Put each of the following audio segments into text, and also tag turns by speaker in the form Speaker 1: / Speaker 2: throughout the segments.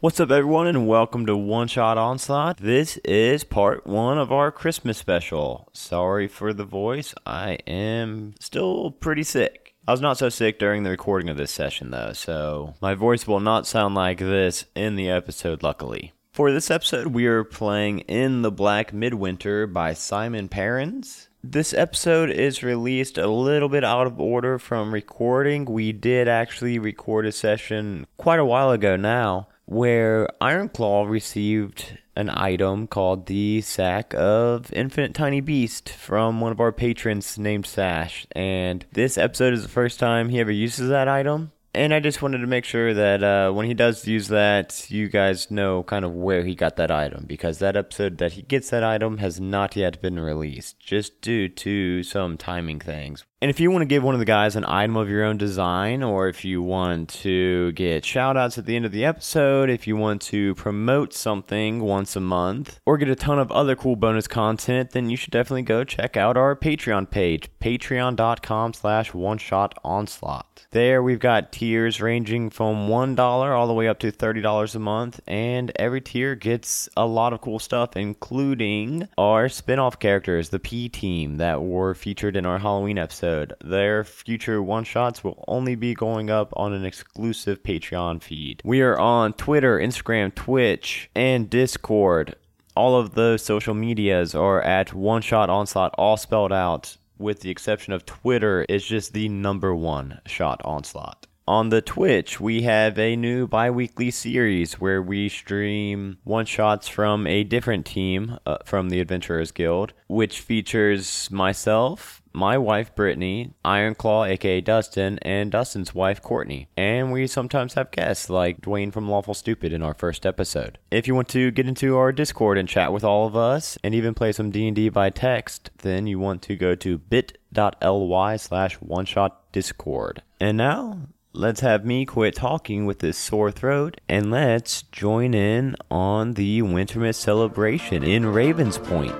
Speaker 1: What's up, everyone, and welcome to One Shot Onslaught. This is part one of our Christmas special. Sorry for the voice, I am still pretty sick. I was not so sick during the recording of this session, though, so my voice will not sound like this in the episode, luckily. For this episode, we are playing In the Black Midwinter by Simon Perrins. This episode is released a little bit out of order from recording. We did actually record a session quite a while ago now where Ironclaw received an item called the Sack of Infinite Tiny Beast from one of our patrons named Sash. And this episode is the first time he ever uses that item. And I just wanted to make sure that uh, when he does use that, you guys know kind of where he got that item because that episode that he gets that item has not yet been released just due to some timing things. And if you want to give one of the guys an item of your own design, or if you want to get shout outs at the end of the episode, if you want to promote something once a month, or get a ton of other cool bonus content, then you should definitely go check out our Patreon page, patreon.com slash one shot onslaught. There we've got tiers ranging from $1 all the way up to $30 a month, and every tier gets a lot of cool stuff, including our spin off characters, the P Team, that were featured in our Halloween episode. Their future one shots will only be going up on an exclusive Patreon feed. We are on Twitter, Instagram, Twitch, and Discord. All of those social medias are at One Shot Onslaught, all spelled out, with the exception of Twitter, is just the number one shot onslaught. On the Twitch, we have a new bi weekly series where we stream one shots from a different team uh, from the Adventurers Guild, which features myself, my wife Brittany, Ironclaw aka Dustin, and Dustin's wife Courtney. And we sometimes have guests like Dwayne from Lawful Stupid in our first episode. If you want to get into our Discord and chat with all of us and even play some D&D by text, then you want to go to bit.ly slash one shot discord. And now, let's have me quit talking with this sore throat and let's join in on the Wintermas celebration in Ravens Point.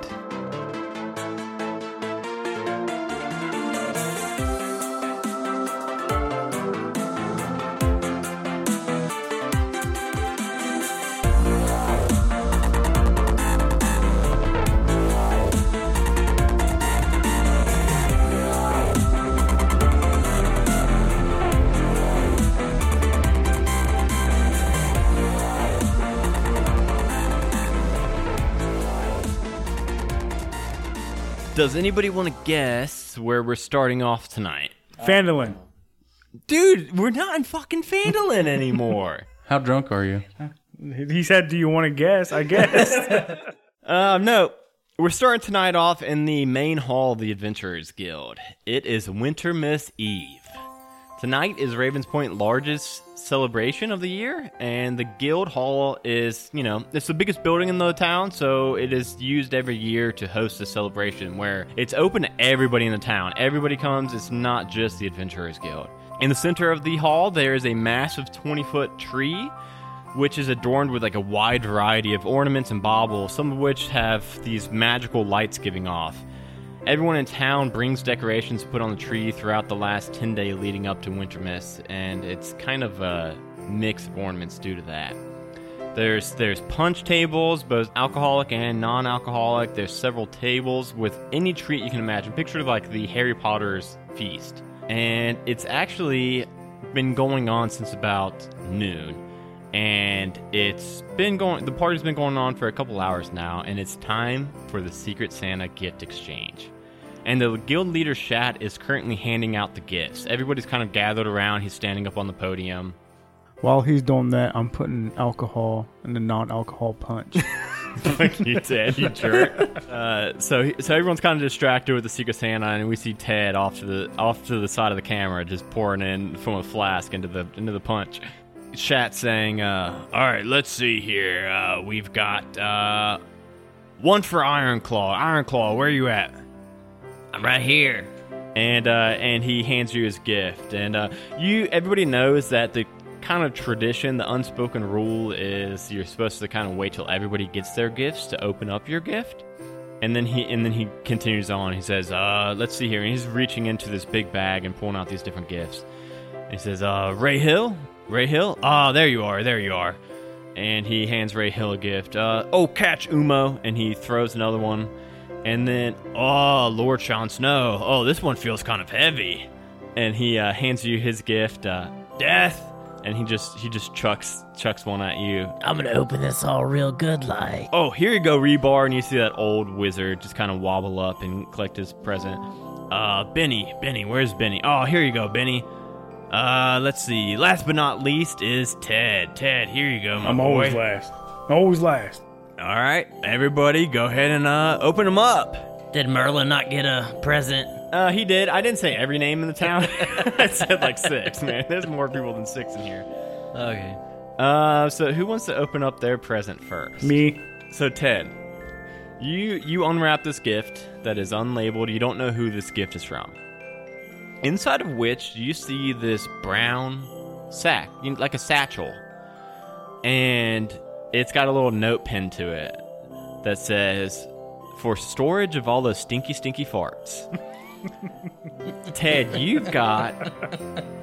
Speaker 1: Does anybody want to guess where we're starting off tonight?
Speaker 2: Fandolin.
Speaker 1: Dude, we're not in fucking Fandolin anymore.
Speaker 3: How drunk are you?
Speaker 2: He said, "Do you want to guess?" I guess.
Speaker 1: um, no. We're starting tonight off in the main hall of the Adventurers Guild. It is Winter Miss Eve. Tonight is Ravens Point largest celebration of the year, and the Guild Hall is, you know, it's the biggest building in the town, so it is used every year to host a celebration where it's open to everybody in the town. Everybody comes, it's not just the Adventurers Guild. In the center of the hall, there is a massive 20 foot tree which is adorned with like a wide variety of ornaments and baubles, some of which have these magical lights giving off. Everyone in town brings decorations put on the tree throughout the last 10 day leading up to Wintermas, and it's kind of a mix of ornaments due to that. There's there's punch tables, both alcoholic and non-alcoholic. There's several tables with any treat you can imagine. Picture like the Harry Potter's feast. And it's actually been going on since about noon. And it's been going the party's been going on for a couple hours now, and it's time for the Secret Santa gift exchange. And the guild leader Shat is currently handing out the gifts. Everybody's kind of gathered around. He's standing up on the podium.
Speaker 2: While he's doing that, I'm putting alcohol in the non-alcohol punch.
Speaker 1: Fuck you, Ted, you jerk. Uh, so, so everyone's kind of distracted with the Secret Santa, and we see Ted off to the off to the side of the camera, just pouring in from a flask into the into the punch. Chat saying, uh, "All right, let's see here. Uh, we've got uh, one for Iron Claw. Iron Claw, where you at?" I'm right here. And uh, and he hands you his gift. And uh, you everybody knows that the kind of tradition, the unspoken rule is you're supposed to kind of wait till everybody gets their gifts to open up your gift. And then he and then he continues on. He says, uh, "Let's see here." And he's reaching into this big bag and pulling out these different gifts. He says, uh, "Ray Hill, Ray Hill. Ah, there you are, there you are." and he hands Ray Hill a gift. Uh, oh, catch Umo, and he throws another one. And then, oh, Lord Sean Snow. Oh, this one feels kind of heavy. And he uh, hands you his gift, uh, death. And he just he just chucks chucks one at you.
Speaker 4: I'm gonna open this all real good like.
Speaker 1: Oh, here you go, Rebar, and you see that old wizard just kind of wobble up and collect his present. Uh, Benny, Benny, where's Benny? Oh, here you go, Benny. Uh, let's see. Last but not least is Ted. Ted, here you go, my
Speaker 2: I'm always
Speaker 1: boy.
Speaker 2: last. Always last.
Speaker 1: All right, everybody, go ahead and uh, open them up.
Speaker 4: Did Merlin not get a present?
Speaker 1: Uh, he did. I didn't say every name in the town. I said like six, man. There's more people than six in here.
Speaker 4: Okay.
Speaker 1: Uh, so who wants to open up their present first?
Speaker 2: Me.
Speaker 1: So Ted, you you unwrap this gift that is unlabeled. You don't know who this gift is from. Inside of which you see this brown sack, you- like a satchel, and it's got a little note pin to it that says, "For storage of all those stinky, stinky farts." Ted, you've got.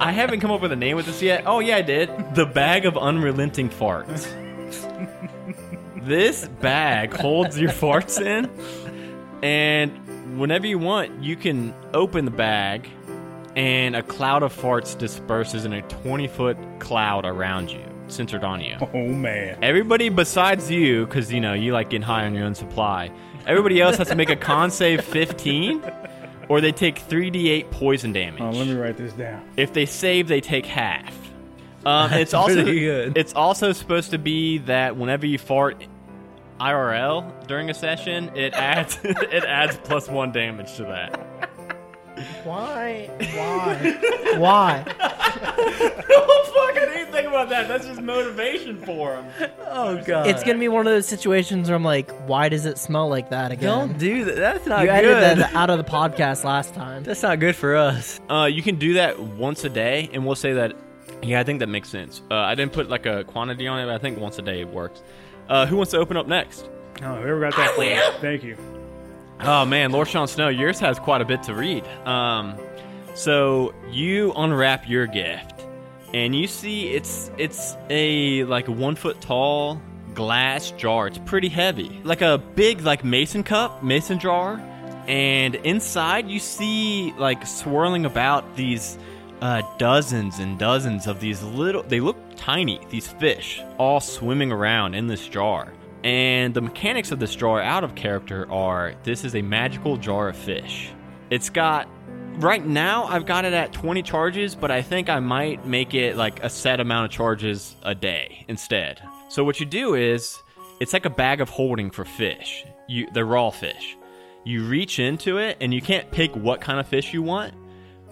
Speaker 1: I haven't come up with a name with this yet. Oh yeah, I did. The bag of unrelenting farts this bag holds your farts in, and whenever you want, you can open the bag, and a cloud of farts disperses in a 20 foot cloud around you, centered on you.
Speaker 2: Oh man.
Speaker 1: Everybody besides you, because you know you like getting high on your own supply. Everybody else has to make a con save 15, or they take 3d8 poison damage.
Speaker 2: Uh, let me write this down.
Speaker 1: If they save, they take half. Um, it's also
Speaker 4: pretty good.
Speaker 1: it's also supposed to be that whenever you fart IRL during a session, it adds it adds plus one damage to that.
Speaker 5: Why? Why? Why?
Speaker 1: Don't fucking even think about that. That's just motivation for him.
Speaker 4: Oh god.
Speaker 5: It's gonna be one of those situations where I'm like, why does it smell like that again?
Speaker 4: Don't do that. That's not
Speaker 5: you
Speaker 4: good.
Speaker 5: edited that out of the podcast last time.
Speaker 4: That's not good for us.
Speaker 1: Uh, you can do that once a day, and we'll say that. Yeah, I think that makes sense. Uh, I didn't put like a quantity on it, but I think once a day works. Uh, who wants to open up next?
Speaker 2: Oh, whoever got that for me. Thank you.
Speaker 1: Oh man, Lord Sean Snow, yours has quite a bit to read. Um, so you unwrap your gift, and you see it's it's a like one foot tall glass jar. It's pretty heavy, like a big like mason cup, mason jar. And inside, you see like swirling about these uh, dozens and dozens of these little. They look tiny. These fish all swimming around in this jar. And the mechanics of this jar out of character are this is a magical jar of fish. It's got right now I've got it at 20 charges, but I think I might make it like a set amount of charges a day instead. So what you do is it's like a bag of holding for fish. You they're raw fish. You reach into it and you can't pick what kind of fish you want,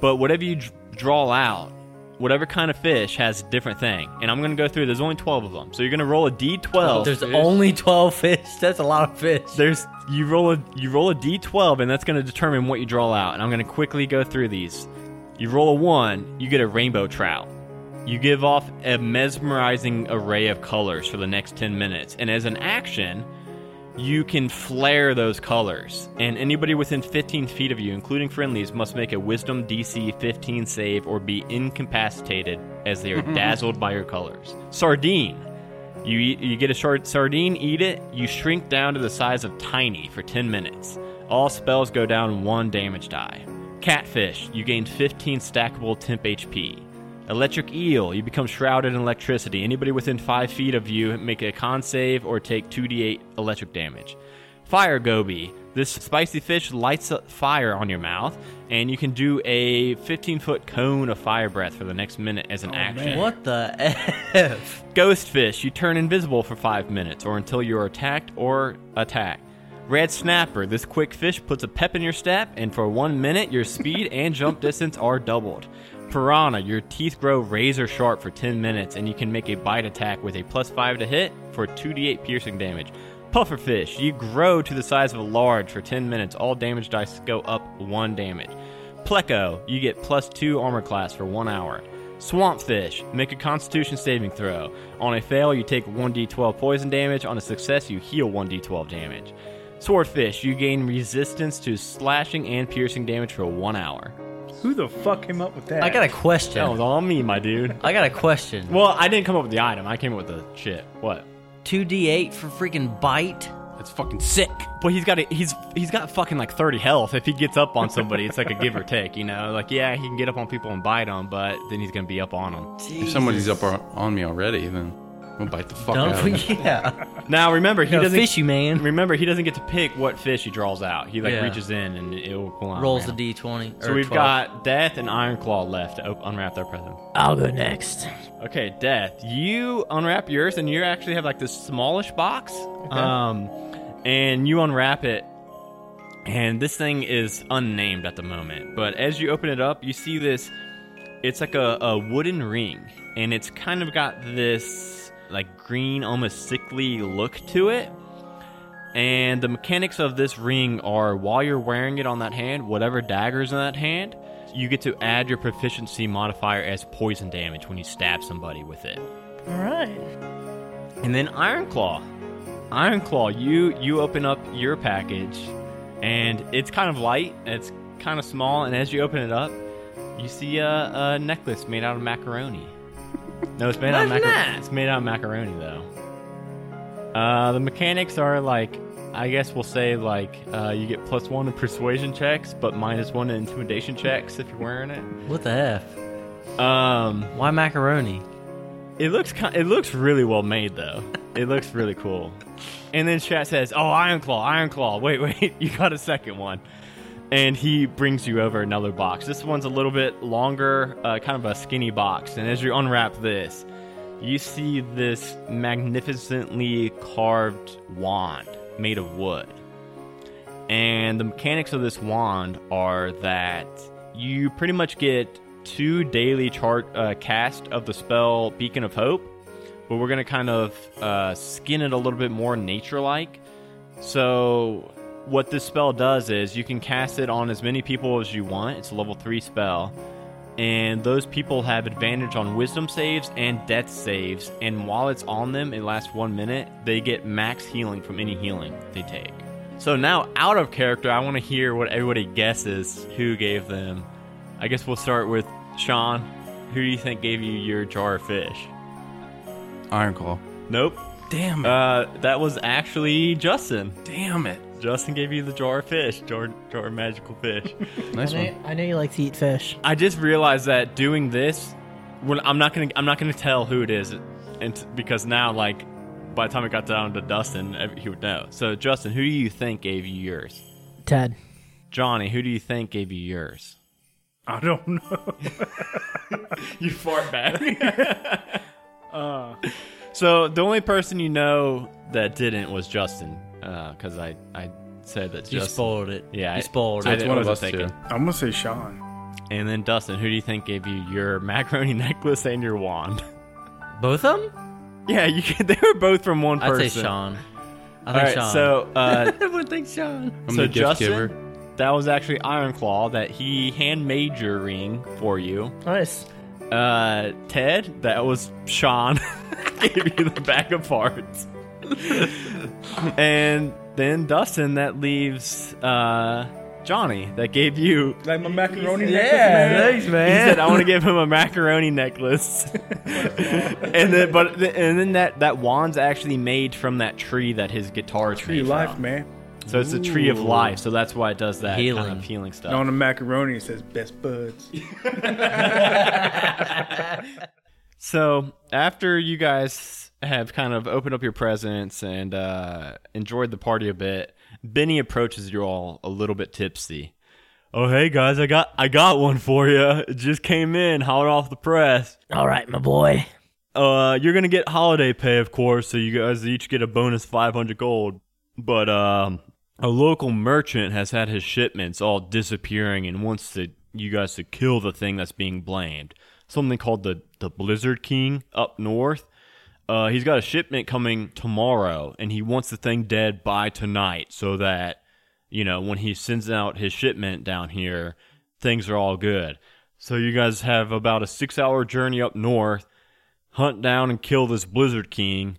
Speaker 1: but whatever you dr- draw out, whatever kind of fish has a different thing. And I'm going to go through there's only 12 of them. So you're going to roll a d12.
Speaker 4: There's only 12 fish. That's a lot of fish.
Speaker 1: There's you roll a you roll a d12 and that's going to determine what you draw out. And I'm going to quickly go through these. You roll a 1, you get a rainbow trout. You give off a mesmerizing array of colors for the next 10 minutes. And as an action, you can flare those colors. And anybody within 15 feet of you, including friendlies, must make a wisdom DC 15 save or be incapacitated as they are dazzled by your colors. Sardine. You eat, you get a short sardine, eat it. You shrink down to the size of tiny for 10 minutes. All spells go down one damage die. Catfish, you gain 15 stackable temp HP. Electric eel, you become shrouded in electricity. Anybody within 5 feet of you make a con save or take 2d8 electric damage. Fire goby, this spicy fish lights up fire on your mouth, and you can do a 15 foot cone of fire breath for the next minute as an action.
Speaker 4: What the F?
Speaker 1: Ghost fish, you turn invisible for five minutes or until you are attacked or attacked. Red snapper, this quick fish puts a pep in your step, and for one minute, your speed and jump distance are doubled. Piranha, your teeth grow razor sharp for 10 minutes, and you can make a bite attack with a plus 5 to hit for 2d8 piercing damage. Pufferfish, you grow to the size of a large for 10 minutes. All damage dice go up 1 damage. Pleco, you get plus 2 armor class for 1 hour. Swampfish, make a constitution saving throw. On a fail, you take 1d12 poison damage. On a success, you heal 1d12 damage. Swordfish, you gain resistance to slashing and piercing damage for 1 hour.
Speaker 2: Who the fuck came up with that?
Speaker 4: I got a
Speaker 1: That was
Speaker 4: question.
Speaker 1: all me, my dude.
Speaker 4: I got a question.
Speaker 1: Well, I didn't come up with the item. I came up with the shit. What?
Speaker 4: 2d8 for freaking bite.
Speaker 1: That's fucking sick. But he's got a, he's he's got fucking like 30 health. If he gets up on somebody, it's like a give or take, you know? Like yeah, he can get up on people and bite them, but then he's going to be up on them.
Speaker 3: If somebody's up on, on me already, then I'm gonna bite the fuck out
Speaker 4: Don't
Speaker 3: of them.
Speaker 4: we? Yeah.
Speaker 1: Now remember, he
Speaker 4: No,
Speaker 1: doesn't
Speaker 4: fishy man.
Speaker 1: Remember, he doesn't get to pick what fish he draws out. He like
Speaker 4: Yeah.
Speaker 1: reaches in and it will pull out.
Speaker 4: Rolls a
Speaker 1: random.
Speaker 4: d20.
Speaker 1: So
Speaker 4: or
Speaker 1: we've
Speaker 4: 12.
Speaker 1: got Death and Iron Claw left to op- unwrap their present.
Speaker 5: I'll go next.
Speaker 1: Okay, Death, you unwrap yours, and you actually have like this smallish box. Um, and you unwrap it, and this thing is unnamed at the moment. But as you open it up, you see this. It's like a, a wooden ring, and it's kind of got this like green, almost sickly look to it. And the mechanics of this ring are while you're wearing it on that hand, whatever dagger's in that hand, you get to add your proficiency modifier as poison damage when you stab somebody with it.
Speaker 5: All right.
Speaker 1: And then Iron Claw. Iron Claw, you you open up your package and it's kind of light, and it's kind of small, and as you open it up, you see a, a necklace made out of macaroni. No, it's made out of
Speaker 4: What's
Speaker 1: macaroni.
Speaker 4: that?
Speaker 1: It's made out of macaroni though. Uh, the mechanics are like, I guess we'll say like uh, you get plus one in persuasion checks, but minus one in intimidation checks if you're wearing it.
Speaker 4: What the F?
Speaker 1: Um,
Speaker 4: Why macaroni?
Speaker 1: it looks kind, it looks really well made though. It looks really cool. And then Strat says, "Oh, Iron Claw, Iron Claw. Wait, wait, you got a second one." And he brings you over another box. This one's a little bit longer, uh, kind of a skinny box. And as you unwrap this, you see this magnificently carved wand made of wood. And the mechanics of this wand are that you pretty much get two daily chart uh, cast of the spell Beacon of Hope, but we're gonna kind of uh, skin it a little bit more nature-like. So what this spell does is you can cast it on as many people as you want. It's a level three spell. And those people have advantage on wisdom saves and death saves. And while it's on them, it lasts one minute. They get max healing from any healing they take. So now, out of character, I want to hear what everybody guesses who gave them. I guess we'll start with Sean. Who do you think gave you your jar of fish?
Speaker 3: Iron Claw.
Speaker 1: Nope.
Speaker 3: Damn it.
Speaker 1: Uh, that was actually Justin.
Speaker 3: Damn it.
Speaker 1: Justin gave you the jar of fish, jar, jar of magical fish.
Speaker 3: Nice
Speaker 5: I know,
Speaker 3: one.
Speaker 5: I know you like to eat fish.
Speaker 1: I just realized that doing this, when I'm not gonna, I'm not gonna tell who it is, and t- because now, like, by the time it got down to Dustin, ev- he would know. So, Justin, who do you think gave you yours?
Speaker 5: Ted.
Speaker 1: Johnny, who do you think gave you yours?
Speaker 2: I don't know.
Speaker 1: You fart back. Uh. so the only person you know that didn't was Justin, because I, I said that
Speaker 4: You
Speaker 1: Justin.
Speaker 4: spoiled it.
Speaker 1: yeah, I-
Speaker 4: You spoiled
Speaker 1: I
Speaker 4: it.
Speaker 3: It's
Speaker 1: didn't-
Speaker 3: one of
Speaker 1: wasn't
Speaker 3: us
Speaker 1: thinking.
Speaker 3: two.
Speaker 2: I'm gonna say Sean.
Speaker 1: And then Dustin, who do you think gave you your macaroni necklace and your wand?
Speaker 4: Both of them?
Speaker 1: Yeah, you could, they were both from one person.
Speaker 4: I'd say Sean. I
Speaker 1: All
Speaker 4: think
Speaker 1: right,
Speaker 4: Sean.
Speaker 1: so uh,
Speaker 4: I would think Sean.
Speaker 3: I'm
Speaker 1: so
Speaker 3: the gift
Speaker 1: Justin,
Speaker 3: giver.
Speaker 1: that was actually Iron Claw that he handmade your ring for you.
Speaker 5: Nice.
Speaker 1: Uh, Ted, that was Sean. gave you the back of parts. and then Dustin, that leaves uh, Johnny, that gave you.
Speaker 2: Like my macaroni.
Speaker 4: thanks, man.
Speaker 1: He said, "I want to give him a macaroni necklace." and then, but and then that that wand's actually made from that tree that his guitar is
Speaker 2: Tree
Speaker 1: made
Speaker 2: life,
Speaker 1: from.
Speaker 2: man.
Speaker 1: So it's the tree of life. So that's why it does that
Speaker 4: Healing.
Speaker 1: kind of healing stuff.
Speaker 2: And on the macaroni it says best buds.
Speaker 1: So after you guys have kind of opened up your presents and uh, enjoyed the party a bit, Benny approaches you all a little bit tipsy. Oh hey guys, I got I got one for you. It just came in, hot off the press.
Speaker 5: All right, my boy.
Speaker 1: Uh, you're gonna get holiday pay, of course, so you guys each get a bonus 500 gold. But um, a local merchant has had his shipments all disappearing and wants to you guys to kill the thing that's being blamed. Something called the the Blizzard King up north. Uh, he's got a shipment coming tomorrow, and he wants the thing dead by tonight, so that you know when he sends out his shipment down here, things are all good. So you guys have about a six-hour journey up north hunt down and kill this Blizzard King,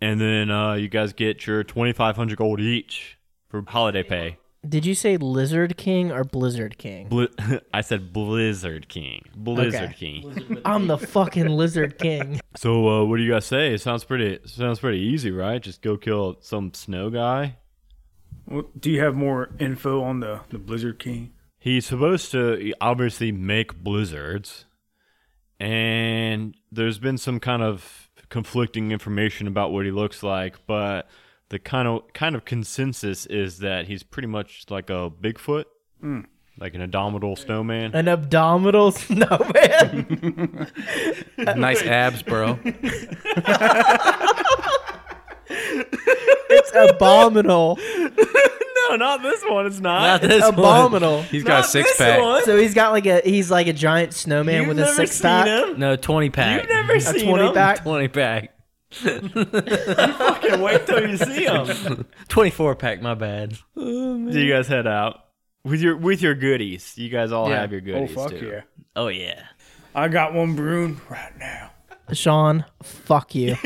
Speaker 1: and then uh, you guys get your twenty five hundred gold each for holiday pay.
Speaker 5: Did you say Lizard King or Blizzard King?
Speaker 1: Bli- I said Blizzard King. Blizzard
Speaker 5: Okay.
Speaker 1: King.
Speaker 5: I'm the fucking Lizard King.
Speaker 1: So uh, what do you guys say? It sounds pretty. Sounds pretty easy, right? Just go kill some snow guy.
Speaker 2: Well, do you have more info on the, the Blizzard King?
Speaker 1: He's supposed to obviously make blizzards, and there's been some kind of conflicting information about what he looks like, but the kind of kind of consensus is that he's pretty much like a Bigfoot, like an abdominal snowman.
Speaker 5: An abdominal snowman.
Speaker 3: Nice abs, bro.
Speaker 5: it's abominable.
Speaker 1: No, not this one. It's
Speaker 4: Not this one.
Speaker 5: abominable.
Speaker 3: He's got a six pack.
Speaker 5: So he's got like a he's like a giant snowman with a six pack.
Speaker 4: No, 20 pack. You've never
Speaker 5: A 20 pack.
Speaker 4: 20 pack.
Speaker 1: Fucking wait till you see him.
Speaker 4: 24 pack, my bad.
Speaker 1: So you guys head out with your with your goodies. You guys all
Speaker 4: Yeah.
Speaker 1: have your
Speaker 2: Oh
Speaker 1: goodies
Speaker 2: fuck
Speaker 1: too.
Speaker 2: yeah!
Speaker 4: Oh, yeah.
Speaker 2: I got one brewing right now.
Speaker 5: Sean, fuck you.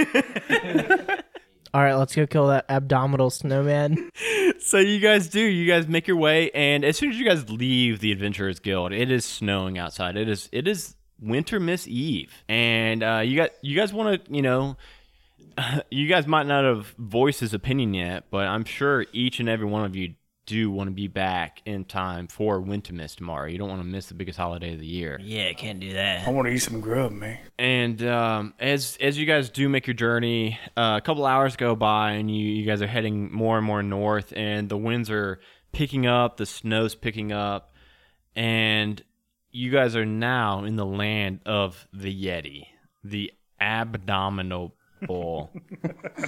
Speaker 5: All right, let's go kill that abdominal snowman.
Speaker 1: So you guys do. You guys make your way, and as soon as you guys leave the Adventurers Guild, it is snowing outside. It is it is winter Miss Eve, and uh, you got you guys want to you know. You guys might not have voiced his opinion yet, but I'm sure each and every one of you do want to be back in time for Wintermas tomorrow. You don't want to miss the biggest holiday of the year.
Speaker 4: Yeah, can't do that.
Speaker 2: I want to eat some grub, man.
Speaker 1: And um, as as you guys do make your journey, uh, a couple hours go by, and you you guys are heading more and more north, and the winds are picking up, the snow's picking up, and you guys are now in the land of the Yeti, the abdominal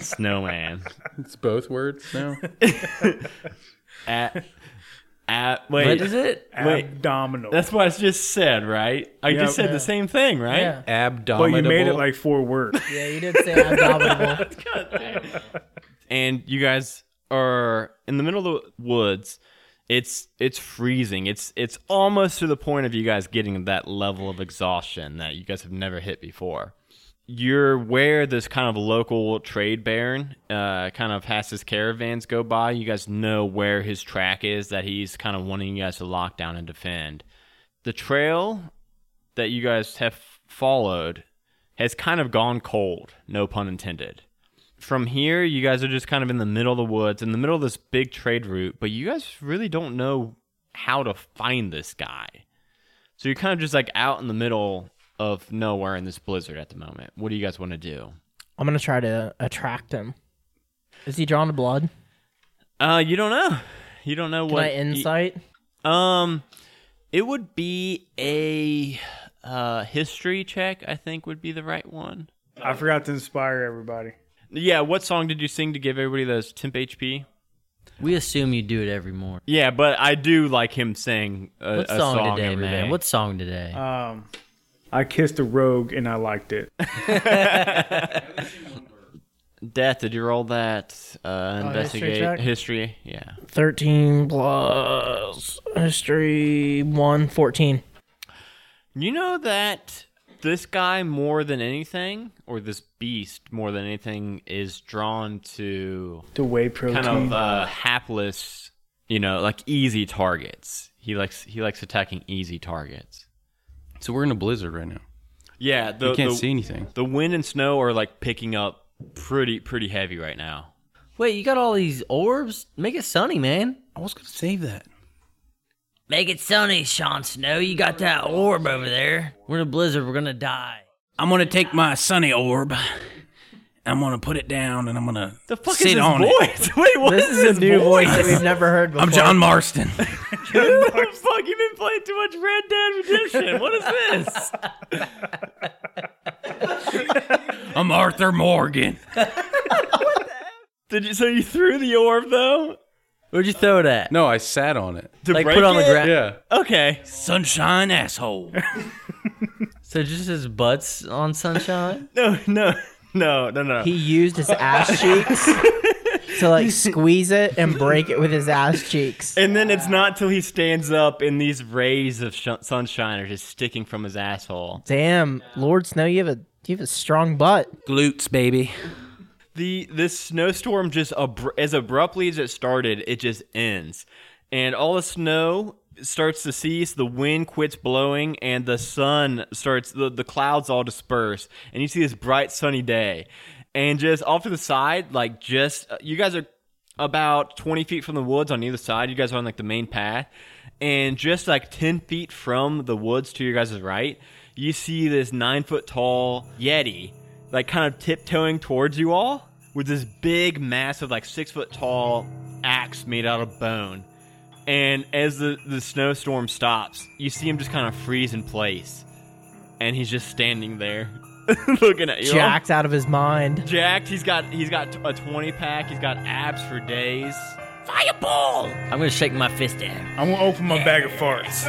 Speaker 1: snowman.
Speaker 3: It's both words now.
Speaker 1: At, at, wait,
Speaker 4: What is it?
Speaker 1: Wait.
Speaker 2: Abdominal.
Speaker 1: that's what I just said, right? I
Speaker 2: Yeah.
Speaker 1: just said the same thing, right?
Speaker 2: but
Speaker 3: Abdominal.
Speaker 2: Oh, you made it like four words.
Speaker 5: Yeah, you did say abdominal.
Speaker 1: and you guys are in the middle of the woods. It's it's freezing. It's it's almost to the point of you guys getting that level of exhaustion that you guys have never hit before. You're where this kind of local trade baron uh, kind of has his caravans go by. You guys know where his track is that he's kind of wanting you guys to lock down and defend. The trail that you guys have followed has kind of gone cold, no pun intended from here, you guys are just kind of in the middle of the woods, in the middle of this big trade route, but you guys really don't know how to find this guy. So you're kind of just like out in the middle of nowhere in this blizzard at the moment. What do you guys want to do?
Speaker 5: I'm gonna try to attract him. Is he drawn to blood?
Speaker 1: Uh, you don't know. You don't know
Speaker 5: Can
Speaker 1: what
Speaker 5: I insight?
Speaker 1: um, it would be a uh history check. I think would be the right one.
Speaker 2: I forgot to inspire everybody.
Speaker 1: Yeah. What song did you sing to give everybody those temp HP?
Speaker 4: We assume you do it every morning.
Speaker 1: Yeah, but I do like him sing a,
Speaker 4: What
Speaker 1: a
Speaker 4: song, today,
Speaker 1: every
Speaker 4: man?
Speaker 1: day. Uh,
Speaker 4: What song today?
Speaker 2: Um, I kissed a rogue and I liked it.
Speaker 1: Death, did you roll that uh, investigate
Speaker 5: check?
Speaker 1: history, Yeah.
Speaker 5: Thirteen plus history one fourteen.
Speaker 1: You know that this guy more than anything, or this beast more than anything, is drawn to
Speaker 2: The whey protein.
Speaker 1: kind of uh, hapless, you know, like easy targets. He likes he likes attacking easy targets.
Speaker 3: so we're in a blizzard right now.
Speaker 1: Yeah, the
Speaker 3: You can't
Speaker 1: the,
Speaker 3: see anything.
Speaker 1: the wind and snow are like picking up pretty pretty heavy right now.
Speaker 4: Wait, you got all these orbs? Make it sunny, man.
Speaker 3: I was gonna save that.
Speaker 4: Make it sunny, Sean Snow. You got that orb over there. We're in a blizzard. We're gonna die.
Speaker 6: I'm gonna take my sunny orb. I'm gonna put it down, and I'm gonna
Speaker 1: The fuck
Speaker 6: sit
Speaker 1: is this
Speaker 6: on it.
Speaker 1: voice? Wait, what
Speaker 5: This is a new voice that we've never heard before.
Speaker 6: I'm John Marston.
Speaker 1: Who the fuck? You've been playing too much Red Dead Redemption. What is this?
Speaker 6: I'm Arthur Morgan.
Speaker 1: Did you? So you threw the orb though
Speaker 4: Where'd you throw it at?
Speaker 3: No, I sat on it.
Speaker 1: to
Speaker 4: like put it on the ground.
Speaker 3: Yeah.
Speaker 1: Okay.
Speaker 6: Sunshine asshole.
Speaker 4: So just his butts on sunshine.
Speaker 1: No, no, no, no, no.
Speaker 5: He used his ass cheeks to like squeeze it and break it with his ass cheeks.
Speaker 1: and then it's not till he stands up and these rays of sh- sunshine are just sticking from his asshole.
Speaker 5: Damn, Lord Snow, you have a you have a strong butt.
Speaker 6: Glutes, baby.
Speaker 1: The this snowstorm just abr- as abruptly as it started, it just ends. and all the snow starts to cease, the wind quits blowing, and the sun starts, the, the clouds all disperse, and you see this bright sunny day. And just off to the side, like just, uh, you guys are about 20 feet from the woods on either side. You guys are on like the main path. And just like 10 feet from the woods to your guys' right, you see this nine foot tall Yeti, like kind of tiptoeing towards you all with this big, massive, like six foot tall axe made out of bone. And as the, the snowstorm stops, you see him just kind of freeze in place. And he's just standing there looking at you. all.
Speaker 5: Jacked out of his mind.
Speaker 1: Jacked. He's got he's got a 20 pack. He's got abs for days.
Speaker 4: Fireball! I'm gonna shake my fist at him.
Speaker 6: I'm gonna open my bag of farts.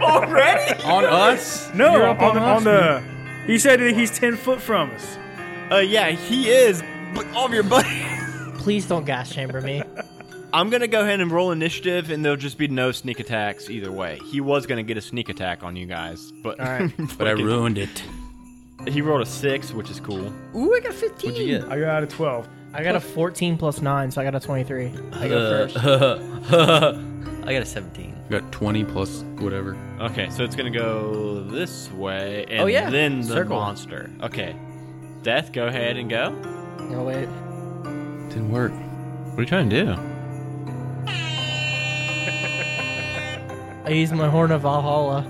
Speaker 1: Already?
Speaker 3: On us?
Speaker 6: No,
Speaker 2: You're up on,
Speaker 6: the-
Speaker 2: on the. He said that he's ten foot from us.
Speaker 1: Uh, yeah, he is. But all of your buddies.
Speaker 5: Please don't gas chamber me.
Speaker 1: I'm gonna go ahead and roll initiative, and there'll just be no sneak attacks either way. He was gonna get a sneak attack on you guys, but
Speaker 3: But I ruined.
Speaker 6: it.
Speaker 1: he rolled a six, which is cool.
Speaker 4: Ooh, I got 15.
Speaker 3: You get.
Speaker 2: I got a twelve.
Speaker 5: I got a 14 plus 9, so I got a 23. I go
Speaker 1: Uh.
Speaker 5: first.
Speaker 4: I got a 17.
Speaker 3: I got 20 plus whatever.
Speaker 1: Okay, so it's gonna go this way, and
Speaker 4: Oh, yeah.
Speaker 1: then the
Speaker 4: Circle.
Speaker 1: monster. Okay, Death, go ahead and go.
Speaker 5: No, wait.
Speaker 3: Didn't work.
Speaker 1: What are you trying to do?
Speaker 5: I used my horn of Valhalla.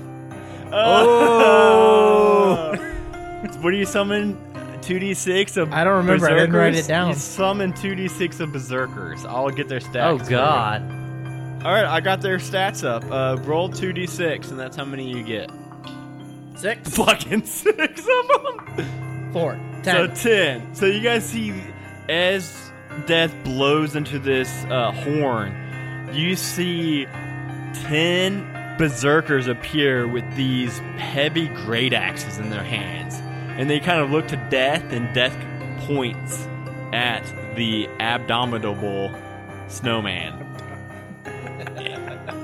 Speaker 1: Oh! what do you summon? 2d6 of
Speaker 5: I don't remember. I
Speaker 1: Berserkers?
Speaker 5: didn't write it down.
Speaker 1: You summon 2d6 of Berserkers. I'll get their
Speaker 4: Oh,
Speaker 1: stats. for you.
Speaker 4: God.
Speaker 1: All right, I got their stats up. Uh, roll 2d6, and that's how many you get.
Speaker 5: Six,
Speaker 1: Fucking six of them.
Speaker 5: four,
Speaker 1: So
Speaker 5: ten.
Speaker 1: ten. So you guys see, as Death blows into this uh, horn, you see ten berserkers appear with these heavy great axes in their hands, and they kind of look to Death, and Death points at the abdominable snowman.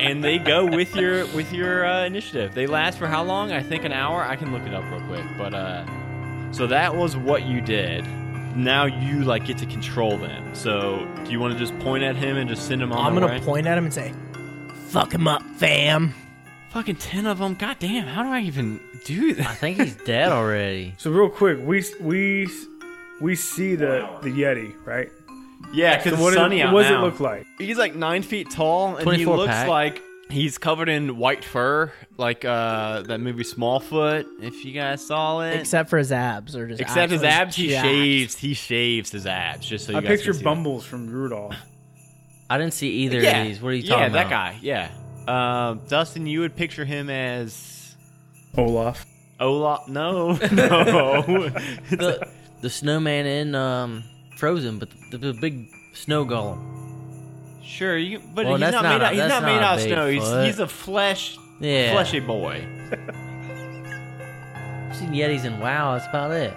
Speaker 1: and they go with your with your uh, initiative. They last for how long? I think an hour. I can look it up real quick, but uh, so that was what you did. Now you like get to control them. So do you want to just point at him and just send him on?
Speaker 5: I'm
Speaker 1: their
Speaker 5: gonna
Speaker 1: way?
Speaker 5: point at him and say, "Fuck him up, fam."
Speaker 1: Fucking ten of them. God damn! How do I even do
Speaker 4: I
Speaker 1: that?
Speaker 4: think he's dead already.
Speaker 2: So real quick, we we we see the the Yeti, right?
Speaker 1: Yeah, because
Speaker 2: So what,
Speaker 1: it's sunny
Speaker 2: it,
Speaker 1: out
Speaker 2: what does
Speaker 1: now.
Speaker 2: it look like?
Speaker 1: He's like nine feet tall, and he
Speaker 4: 24
Speaker 1: looks
Speaker 4: pack.
Speaker 1: like he's covered in white fur, like uh that movie Smallfoot. If you guys saw it,
Speaker 5: Except for his abs, or just
Speaker 1: Except his
Speaker 5: actually
Speaker 1: abs, he
Speaker 5: jacked.
Speaker 1: shaves. He shaves his abs. Just so you
Speaker 2: I
Speaker 1: guys
Speaker 2: picture
Speaker 1: can see
Speaker 2: Bumbles from Rudolph.
Speaker 4: I didn't see either
Speaker 1: that. Yeah,
Speaker 4: of these. What are you
Speaker 1: yeah,
Speaker 4: talking about?
Speaker 1: that guy. Yeah, Um Dustin, you would picture him as
Speaker 2: Olaf.
Speaker 1: Olaf. No,
Speaker 2: Oh,
Speaker 1: no.
Speaker 4: The, the snowman in um, Frozen, but the, the big snow golem.
Speaker 1: sure, you, but
Speaker 4: Well,
Speaker 1: he's
Speaker 4: that's
Speaker 1: not
Speaker 4: not
Speaker 1: made
Speaker 4: a-
Speaker 1: out. He's
Speaker 4: that's
Speaker 1: not made
Speaker 4: not a
Speaker 1: out of
Speaker 4: big
Speaker 1: snow. He's,
Speaker 4: foot.
Speaker 1: he's a flesh,
Speaker 4: Yeah.
Speaker 1: fleshy boy.
Speaker 4: I've seen Yetis and Wow, that's about it.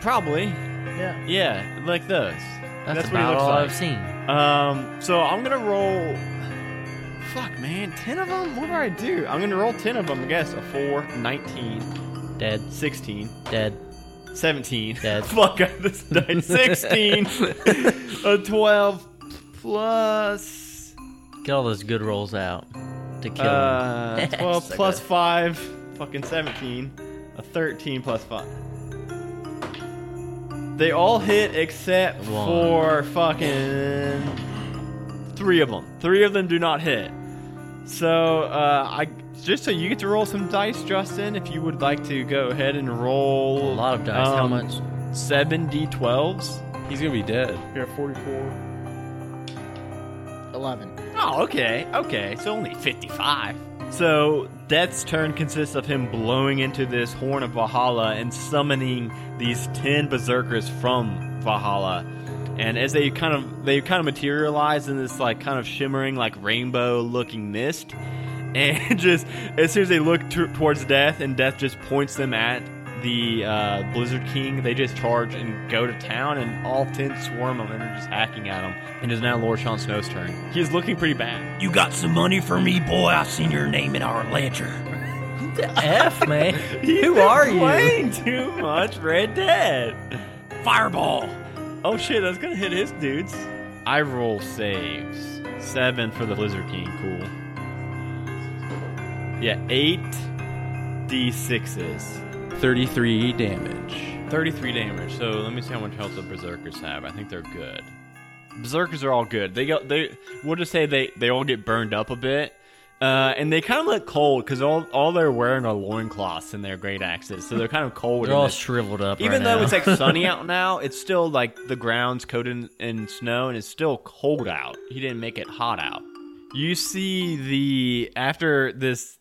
Speaker 1: Probably.
Speaker 5: Yeah.
Speaker 1: Yeah, like those.
Speaker 4: That's,
Speaker 1: what he
Speaker 4: about
Speaker 1: looks
Speaker 4: all
Speaker 1: like.
Speaker 4: I've seen.
Speaker 1: Um, so I'm gonna roll. Fuck, man, ten of them. What do I do? I'm gonna roll ten of them. I guess a four, 19,
Speaker 4: Dead,
Speaker 1: 16,
Speaker 4: dead.
Speaker 1: 17.
Speaker 4: Dead.
Speaker 1: Fuck, I just died. 16. a 12 plus.
Speaker 4: Get all those good rolls out to kill him.
Speaker 1: Uh, 12
Speaker 4: So
Speaker 1: plus
Speaker 4: good.
Speaker 1: 5. Fucking 17. A 13 plus 5. They all hit except
Speaker 4: One.
Speaker 1: for fucking. Three of them. Three of them do not hit. So, uh, I. Just so you get to roll some dice, Justin, if you would like to go ahead and roll
Speaker 4: A lot of dice. How
Speaker 1: um,
Speaker 4: much?
Speaker 1: Seven d12s.
Speaker 3: He's gonna be dead.
Speaker 2: Yeah, 44.
Speaker 5: Eleven.
Speaker 1: Oh, okay, okay. It's only 55. So, Death's turn consists of him blowing into this horn of Valhalla and summoning these 10 berserkers from Valhalla. And as they kind of they kind of materialize in this like kind of shimmering like rainbow looking mist, and just as soon as they look t- towards Death, and Death just points them at the uh, Blizzard King, they just charge and go to town, and all ten swarm them and are just hacking at him. And it is now Lord Sean Snow's turn. He's looking pretty bad.
Speaker 6: You got some money for me, boy? I seen your name in our ledger.
Speaker 4: F, man. Who are you?
Speaker 1: Playing too much Red Dead.
Speaker 6: Fireball.
Speaker 1: Oh shit, that's gonna hit his dudes. I roll saves. Seven for the Blizzard King. Cool. Yeah, eight d6s.
Speaker 3: 33 damage.
Speaker 1: 33 damage. So let me see how much health the berserkers have. I think they're good. Berserkers are all good. They got they. We'll just say they they all get burned up a bit, uh, and they kind of look cold because all all they're wearing are loincloths and their great axes, so they're kind of cold.
Speaker 4: They're
Speaker 1: in
Speaker 4: all
Speaker 1: this-
Speaker 4: shriveled up.
Speaker 1: Even
Speaker 4: right
Speaker 1: though
Speaker 4: now.
Speaker 1: it's like sunny out now, it's still like the ground's coated in, in snow and it's still cold out. He didn't make it hot out. You see the after this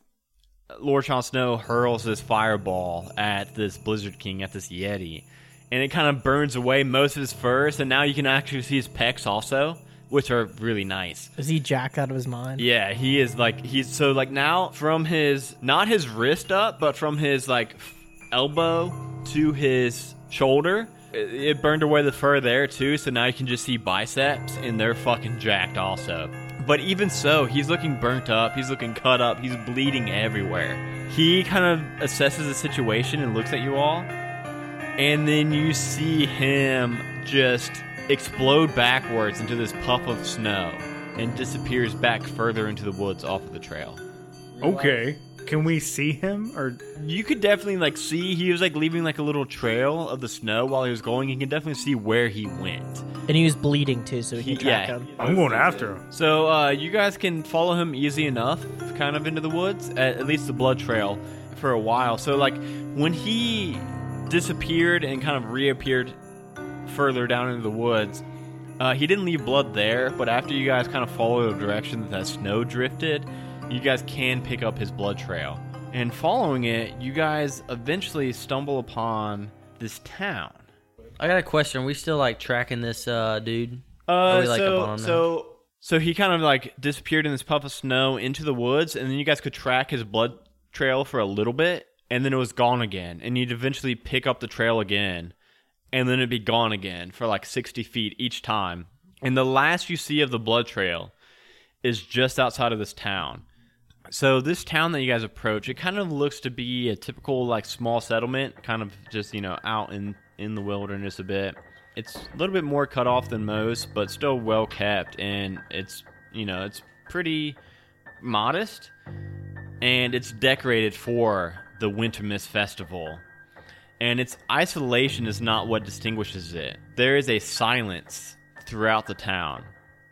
Speaker 1: Lord Sean Snow hurls this fireball at this Blizzard King at this Yeti, and it kind of burns away most of his furs, and now you can actually see his pecs also, which are really nice.
Speaker 5: Is he jacked out of his mind?
Speaker 1: Yeah, he is like he's so like now from his not his wrist up, but from his like elbow to his shoulder. It, it burned away the fur there too, so now you can just see biceps and they're fucking jacked also. But even so, he's looking burnt up, he's looking cut up, he's bleeding everywhere. He kind of assesses the situation and looks at you all, and then you see him just explode backwards into this puff of snow and disappears back further into the woods off of the trail.
Speaker 2: Okay. Can we see him or
Speaker 1: You could definitely like see he was like leaving like a little trail of the snow while he was going. You can definitely see where he went.
Speaker 5: And he was bleeding too, so we can
Speaker 1: He-
Speaker 5: track
Speaker 1: yeah.
Speaker 5: him.
Speaker 2: I'm going after him.
Speaker 1: So uh, you guys can follow him easy enough, kind of into the woods, at, at least the blood trail, for a while. So like when he disappeared and kind of reappeared further down into the woods, uh, he didn't leave blood there. But after you guys kind of follow the direction that that snow drifted, you guys can pick up his blood trail. And following it, you guys eventually stumble upon this town.
Speaker 4: I got a question. Are we still like tracking this uh, dude?
Speaker 1: Uh,
Speaker 4: Are we, like,
Speaker 1: so,
Speaker 4: up on him now?
Speaker 1: so, so he kind of like disappeared in this puff of snow into the woods, and then you guys could track his blood trail for a little bit, and then it was gone again, and you'd eventually pick up the trail again, and then it'd be gone again for like sixty feet each time, and the last you see of the blood trail is just outside of this town. So this town that you guys approach, it kind of looks to be a typical like small settlement, kind of just you know out in in the wilderness a bit. It's a little bit more cut off than most, but still well kept, and it's you know it's pretty modest, and it's decorated for the Winter Mist Festival. And its isolation is not what distinguishes it. There is a silence throughout the town.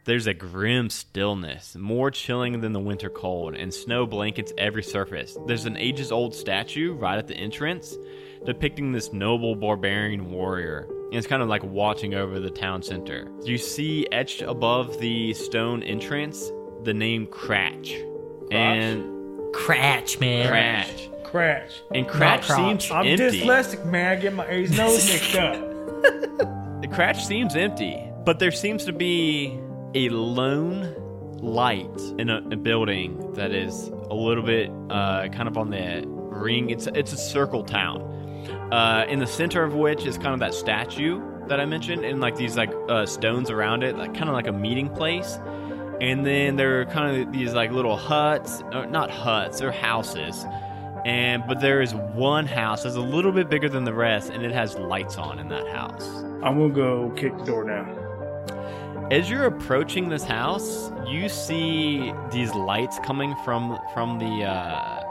Speaker 1: There's a grim stillness, more chilling than the winter cold, and snow blankets every surface. There's an ages old statue right at the entrance depicting this noble barbarian warrior. And it's kind of like watching over the town center. You see etched above the stone entrance the name Cratch. And
Speaker 4: Cratch, man.
Speaker 1: Cratch.
Speaker 2: Crash.
Speaker 1: And Cratch
Speaker 5: Crotch.
Speaker 1: seems
Speaker 2: I'm
Speaker 1: empty.
Speaker 2: dyslexic, man. I get my A's nose mixed up.
Speaker 1: The cratch seems empty, but there seems to be a lone light in a, a building that is a little bit uh, kind of on the ring. It's it's a circle town, uh, in the center of which is kind of that statue that I mentioned, and like these like uh, stones around it, like kind of like a meeting place. And then there are kind of these like little huts, or not huts, they're houses. And but there is one house that's a little bit bigger than the rest, and it has lights on in that house.
Speaker 2: I'm gonna go kick the door down.
Speaker 1: As you're approaching this house, you see these lights coming from from the. Uh,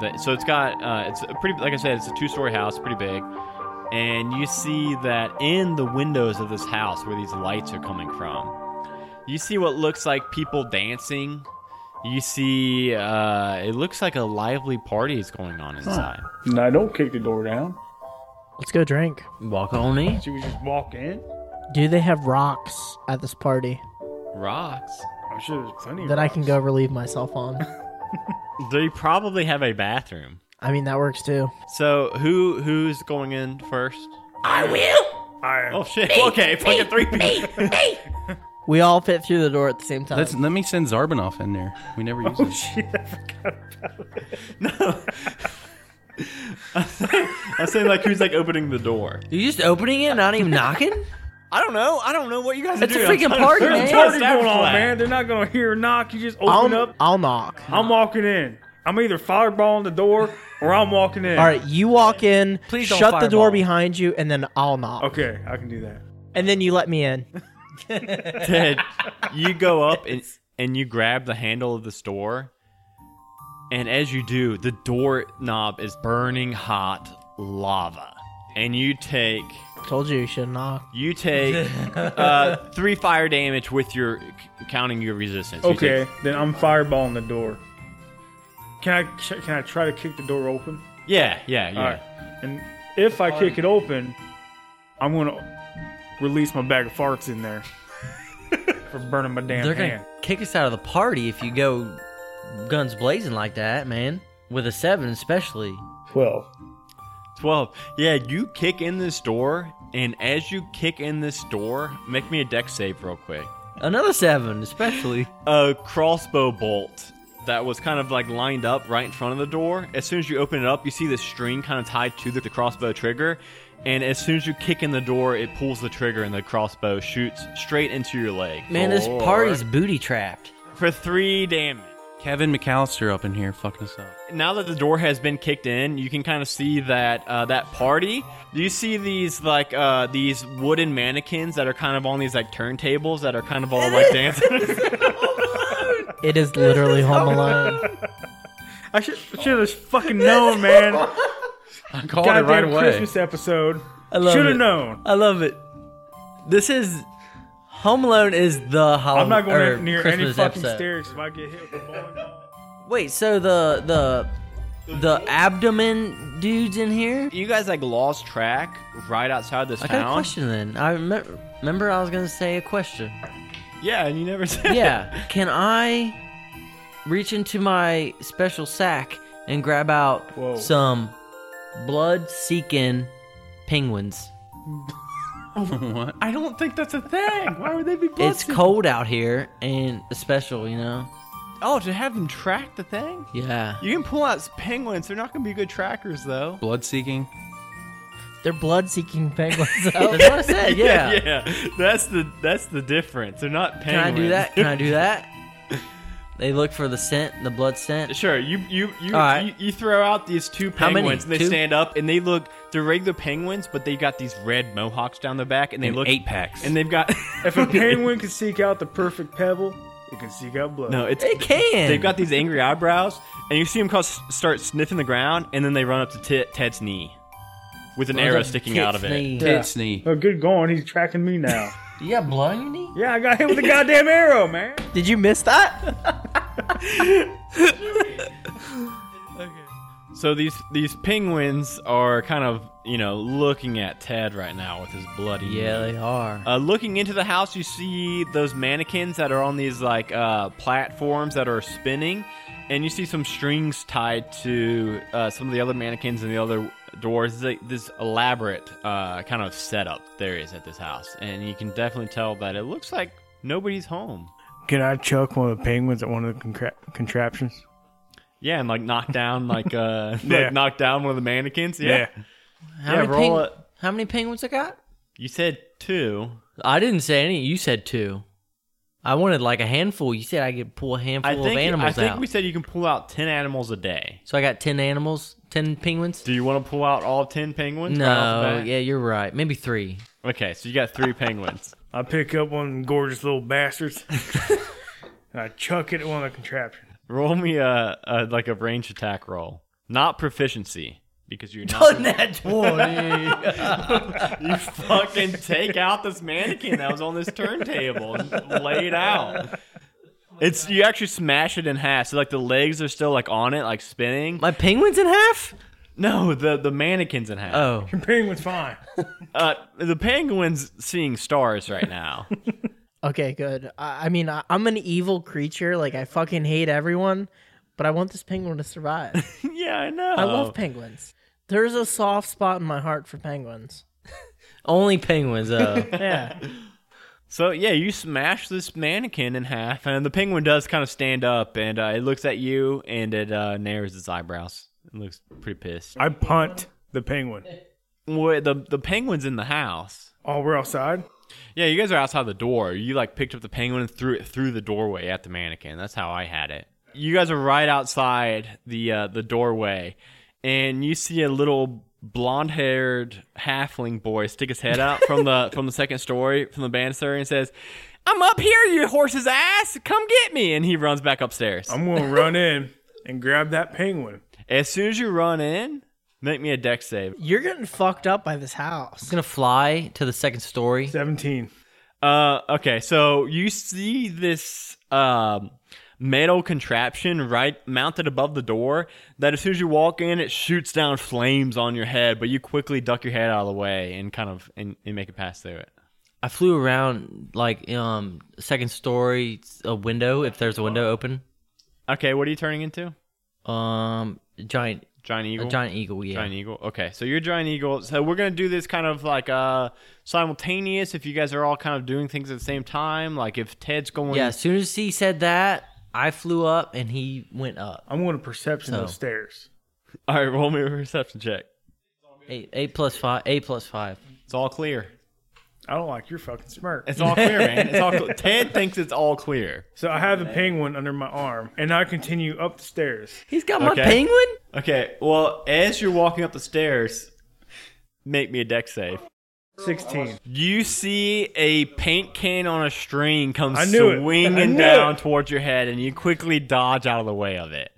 Speaker 1: the so it's got uh, it's a pretty like I said, it's a two-story house, pretty big, and you see that in the windows of this house where these lights are coming from, you see what looks like people dancing. You see, uh, it looks like a lively party is going on inside.
Speaker 2: No, don't kick the door down.
Speaker 5: Let's go drink.
Speaker 4: Walk on me.
Speaker 2: She was just walk in.
Speaker 5: Do they have rocks at this party
Speaker 1: Rocks.
Speaker 2: I'm sure there's plenty.
Speaker 5: that I can go relieve myself on?
Speaker 1: They probably have a bathroom.
Speaker 5: I mean, that works too.
Speaker 1: So who who's going in first?
Speaker 4: I will.
Speaker 1: Oh shit! okay, fucking three people.
Speaker 5: We all fit through the door at the same time.
Speaker 3: Let's, let me send Zarbanoff in there. We never use him.
Speaker 1: I'm saying like who's like opening the door.
Speaker 4: You just opening it and not even knocking?
Speaker 1: I don't know. I don't know what you guys
Speaker 4: It's a freaking party, man.
Speaker 2: What's going on, man? They're not gonna hear a knock. You just open
Speaker 5: I'll,
Speaker 2: up.
Speaker 5: I'll knock.
Speaker 2: I'm walking in. I'm either fireballing the door or I'm walking in.
Speaker 5: All right, you walk in,
Speaker 4: Please don't
Speaker 5: shut the door
Speaker 4: fireball.
Speaker 5: behind you, and then I'll knock.
Speaker 2: Okay, I can do that.
Speaker 5: And then you let me in.
Speaker 1: Ted, you go up and, and you grab the handle of the store. And as you do, the doorknob is burning hot lava. And you take
Speaker 5: Told you you should knock.
Speaker 1: you take uh, three fire damage with your c- counting your resistance. You
Speaker 2: Okay, then I'm fireballing the door. Can I can I try to kick the door open?
Speaker 1: take- yeah, yeah, yeah.
Speaker 2: All right. And if I kick it open, I'm gonna release my bag of farts in there for burning my damn
Speaker 4: They're
Speaker 2: hand.
Speaker 4: gonna kick us out of the party if you go guns blazing like that, man. With a seven, especially.
Speaker 2: Twelve.
Speaker 1: 12. Yeah, you kick in this door, and as you kick in this door, make me a deck save real quick.
Speaker 4: Another seven, especially.
Speaker 1: A crossbow bolt that was kind of like lined up right in front of the door. As soon as you open it up, you see the string kind of tied to the, the crossbow trigger. And as soon as you kick in the door, it pulls the trigger, and the crossbow shoots straight into your leg.
Speaker 4: Man, this party's booty trapped.
Speaker 1: For three damage.
Speaker 3: Kevin McAllister up in here fucking us up.
Speaker 1: now that the door has been kicked in, you can kind of see that uh, that party. You see these like uh, these wooden mannequins that are kind of on these like turntables that are kind of all like dancing.
Speaker 5: It is literally Home Alone.
Speaker 2: I should should have fucking known, man.
Speaker 3: I called it
Speaker 2: Goddamn
Speaker 3: right away.
Speaker 2: Christmas episode.
Speaker 4: I love
Speaker 2: Should
Speaker 4: it.
Speaker 2: have known.
Speaker 4: I love it. This is Home Alone is the Halloween.
Speaker 2: I'm not
Speaker 4: or
Speaker 2: going near
Speaker 4: Christmas
Speaker 2: any fucking
Speaker 4: episode.
Speaker 2: stairs if I get hit with a bowling
Speaker 4: Wait, so the the the abdomen dudes in here?
Speaker 1: you guys like lost track right outside this
Speaker 4: I got a
Speaker 1: town.
Speaker 4: question then. I remember, remember I was gonna say a question.
Speaker 1: Yeah, and you never said.
Speaker 4: Yeah, can I reach into my special sack and grab out
Speaker 2: Whoa.
Speaker 4: some blood-seeking penguins?
Speaker 3: what?
Speaker 1: I don't think that's a thing. Why would they be?
Speaker 4: it's cold out here and special, you know.
Speaker 1: Oh, to have them track the thing.
Speaker 4: Yeah,
Speaker 1: You can pull out penguins. They're not going to be good trackers though.
Speaker 3: Blood seeking?
Speaker 5: They're blood-seeking penguins.
Speaker 4: that's what I said. Yeah.
Speaker 1: Oh. yeah. That's the that's the difference. They're not
Speaker 4: Can
Speaker 1: penguins.
Speaker 4: I do that? Can I do that? They look for the scent, the blood scent.
Speaker 1: Sure, you you you,
Speaker 4: All right.
Speaker 1: you you throw out these two
Speaker 4: How many?
Speaker 1: penguins and they
Speaker 4: Two?
Speaker 1: stand up and they look they're regular penguins, but they got these red mohawks down their back and they
Speaker 6: And
Speaker 1: look
Speaker 6: eight packs.
Speaker 1: and they've got
Speaker 2: If a penguin can seek out the perfect pebble, it can seek out blood.
Speaker 1: no it's
Speaker 4: They can.
Speaker 1: they've got these angry eyebrows and you see them cause, start sniffing the ground and then they run up to Ti- Ted's knee with an arrow sticking out of it.
Speaker 2: Yeah.
Speaker 3: It's knee.
Speaker 2: Oh, good going. He's tracking me now.
Speaker 4: You got blood on your knee?
Speaker 2: yeah, I got hit with a goddamn arrow, man.
Speaker 5: Did you miss that?
Speaker 1: So these these penguins are kind of you know looking at Ted right now with his bloody
Speaker 4: Yeah,
Speaker 1: knee.
Speaker 4: they are.
Speaker 1: Uh, looking into the house, you see those mannequins that are on these like uh, platforms that are spinning, and you see some strings tied to uh, some of the other mannequins and the other doors. It's like this elaborate uh, kind of setup there is at this house, and you can definitely tell that it looks like nobody's home.
Speaker 2: Can I chuck one of the penguins at one of the contra- contraptions?
Speaker 1: Yeah, and like knock down like uh,
Speaker 2: Yeah.
Speaker 1: like knock down one of the mannequins. Yeah,
Speaker 4: How,
Speaker 1: yeah,
Speaker 4: many
Speaker 1: roll
Speaker 4: peng-
Speaker 1: it.
Speaker 4: how many penguins I got?
Speaker 1: you said two.
Speaker 4: I didn't say any. You said two. I wanted like a handful. You said I could pull a handful
Speaker 1: I
Speaker 4: of
Speaker 1: think
Speaker 4: animals
Speaker 1: I think
Speaker 4: out.
Speaker 1: we said you can pull out ten animals a day.
Speaker 4: so I got ten animals, ten penguins.
Speaker 1: Do you want to pull out all ten penguins? right off the
Speaker 4: No,
Speaker 1: bat?
Speaker 4: yeah, you're right. Maybe three.
Speaker 1: Okay, so you got three penguins.
Speaker 2: I pick up one of them gorgeous little bastards and I chuck it at one of the contraptions.
Speaker 1: Roll me a, a like a range attack roll, not proficiency, because you're not
Speaker 4: that twenty.
Speaker 1: you fucking take out this mannequin that was on this turntable and lay it out. It's you actually smash it in half, so like the legs are still like on it, like spinning.
Speaker 4: My penguins in half?
Speaker 1: No, the the mannequins in half.
Speaker 4: Oh,
Speaker 2: Your penguin's fine.
Speaker 1: Uh, the penguins seeing stars right now.
Speaker 5: Okay, good. I, I mean, I, I'm an evil creature. Like, I fucking hate everyone, but I want this penguin to survive.
Speaker 1: yeah, I know.
Speaker 5: I
Speaker 2: Oh.
Speaker 5: love penguins. There's a soft spot in my heart for penguins.
Speaker 4: only penguins uh, though.
Speaker 5: Yeah.
Speaker 1: So yeah, you smash this mannequin in half, and the penguin does kind of stand up, and uh, it looks at you, and it uh, narrows its eyebrows. It looks pretty pissed.
Speaker 2: I punt the penguin.
Speaker 1: Wait, the the penguin's in the house.
Speaker 2: Oh, we're outside?
Speaker 1: Yeah, you guys are outside the door. You like picked up the penguin and threw it through the doorway at the mannequin. That's how I had it. You guys are right outside the uh, the doorway, and you see a little blonde-haired halfling boy stick his head out from the from the second story from the banister and says, "I'm up here, you horse's ass! Come get me!" And he runs back upstairs.
Speaker 2: I'm gonna run in and grab that penguin.
Speaker 1: as soon as you run in, make me a deck save.
Speaker 5: You're getting fucked up by this house.
Speaker 4: gonna fly to the second story.
Speaker 2: Seventeen.
Speaker 1: Uh, okay, so you see this um, metal contraption right mounted above the door that as soon as you walk in, it shoots down flames on your head, but you quickly duck your head out of the way and kind of and, and make it pass through it.
Speaker 4: I flew around like um second story a window if there's a window open.
Speaker 1: Okay, what are you turning into?
Speaker 4: Um, giant,
Speaker 1: Giant eagle.
Speaker 4: a giant eagle. Yeah.
Speaker 1: Giant eagle. Okay, so you're giant eagle. So we're gonna do this kind of like uh simultaneous. If you guys are all kind of doing things at the same time, like if Ted's going,
Speaker 4: Yeah. As soon as he said that, I flew up and he went up.
Speaker 2: I'm gonna perception
Speaker 4: So-
Speaker 2: those stairs.
Speaker 1: All right, roll me a perception check.
Speaker 4: Eight, eight plus five. Eight plus five.
Speaker 1: It's all clear.
Speaker 2: I don't like your fucking smirk.
Speaker 1: It's all clear, man. It's all cl- Ted thinks it's all clear.
Speaker 2: So I have the penguin under my arm, and I continue up the stairs.
Speaker 4: He's got
Speaker 1: Okay.
Speaker 4: my penguin.
Speaker 1: Okay, well, as you're walking up the stairs, make me a deck save.
Speaker 2: Sixteen.
Speaker 1: You see a paint can on a string come
Speaker 2: I knew it. I
Speaker 1: swinging
Speaker 2: knew
Speaker 1: down
Speaker 2: it.
Speaker 1: towards your head, and you quickly dodge out of the way of it.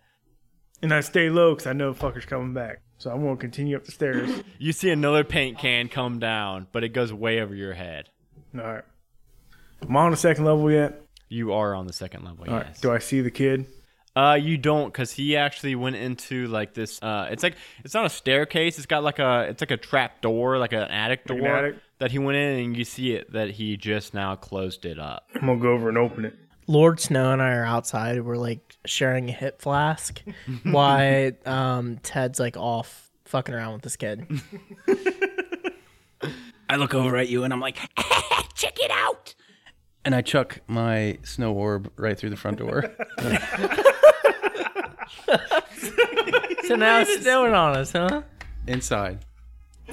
Speaker 2: And I stay low because I know the fucker's coming back. So I'm gonna continue up the stairs.
Speaker 1: You see another paint can come down, but it goes way over your head.
Speaker 2: All right. Am I on the second level yet?
Speaker 1: You are on the second level,
Speaker 2: All right.
Speaker 1: yes.
Speaker 2: Do I see the kid?
Speaker 1: Uh, you don't, cause he actually went into like this. Uh, it's like it's not a staircase. It's got like a it's like a trap door, like an attic door
Speaker 2: an attic?
Speaker 1: that he went in, and you see it that he just now closed it up.
Speaker 2: I'm gonna go over and open it.
Speaker 5: Lord Snow and I are outside. We're like sharing a hip flask. Why um Ted's like off fucking around with this kid.
Speaker 6: I look over at you and I'm like, check it out. And I chuck.
Speaker 3: My snow orb right through the front door.
Speaker 4: So now it's snowing on us, huh?
Speaker 3: Inside.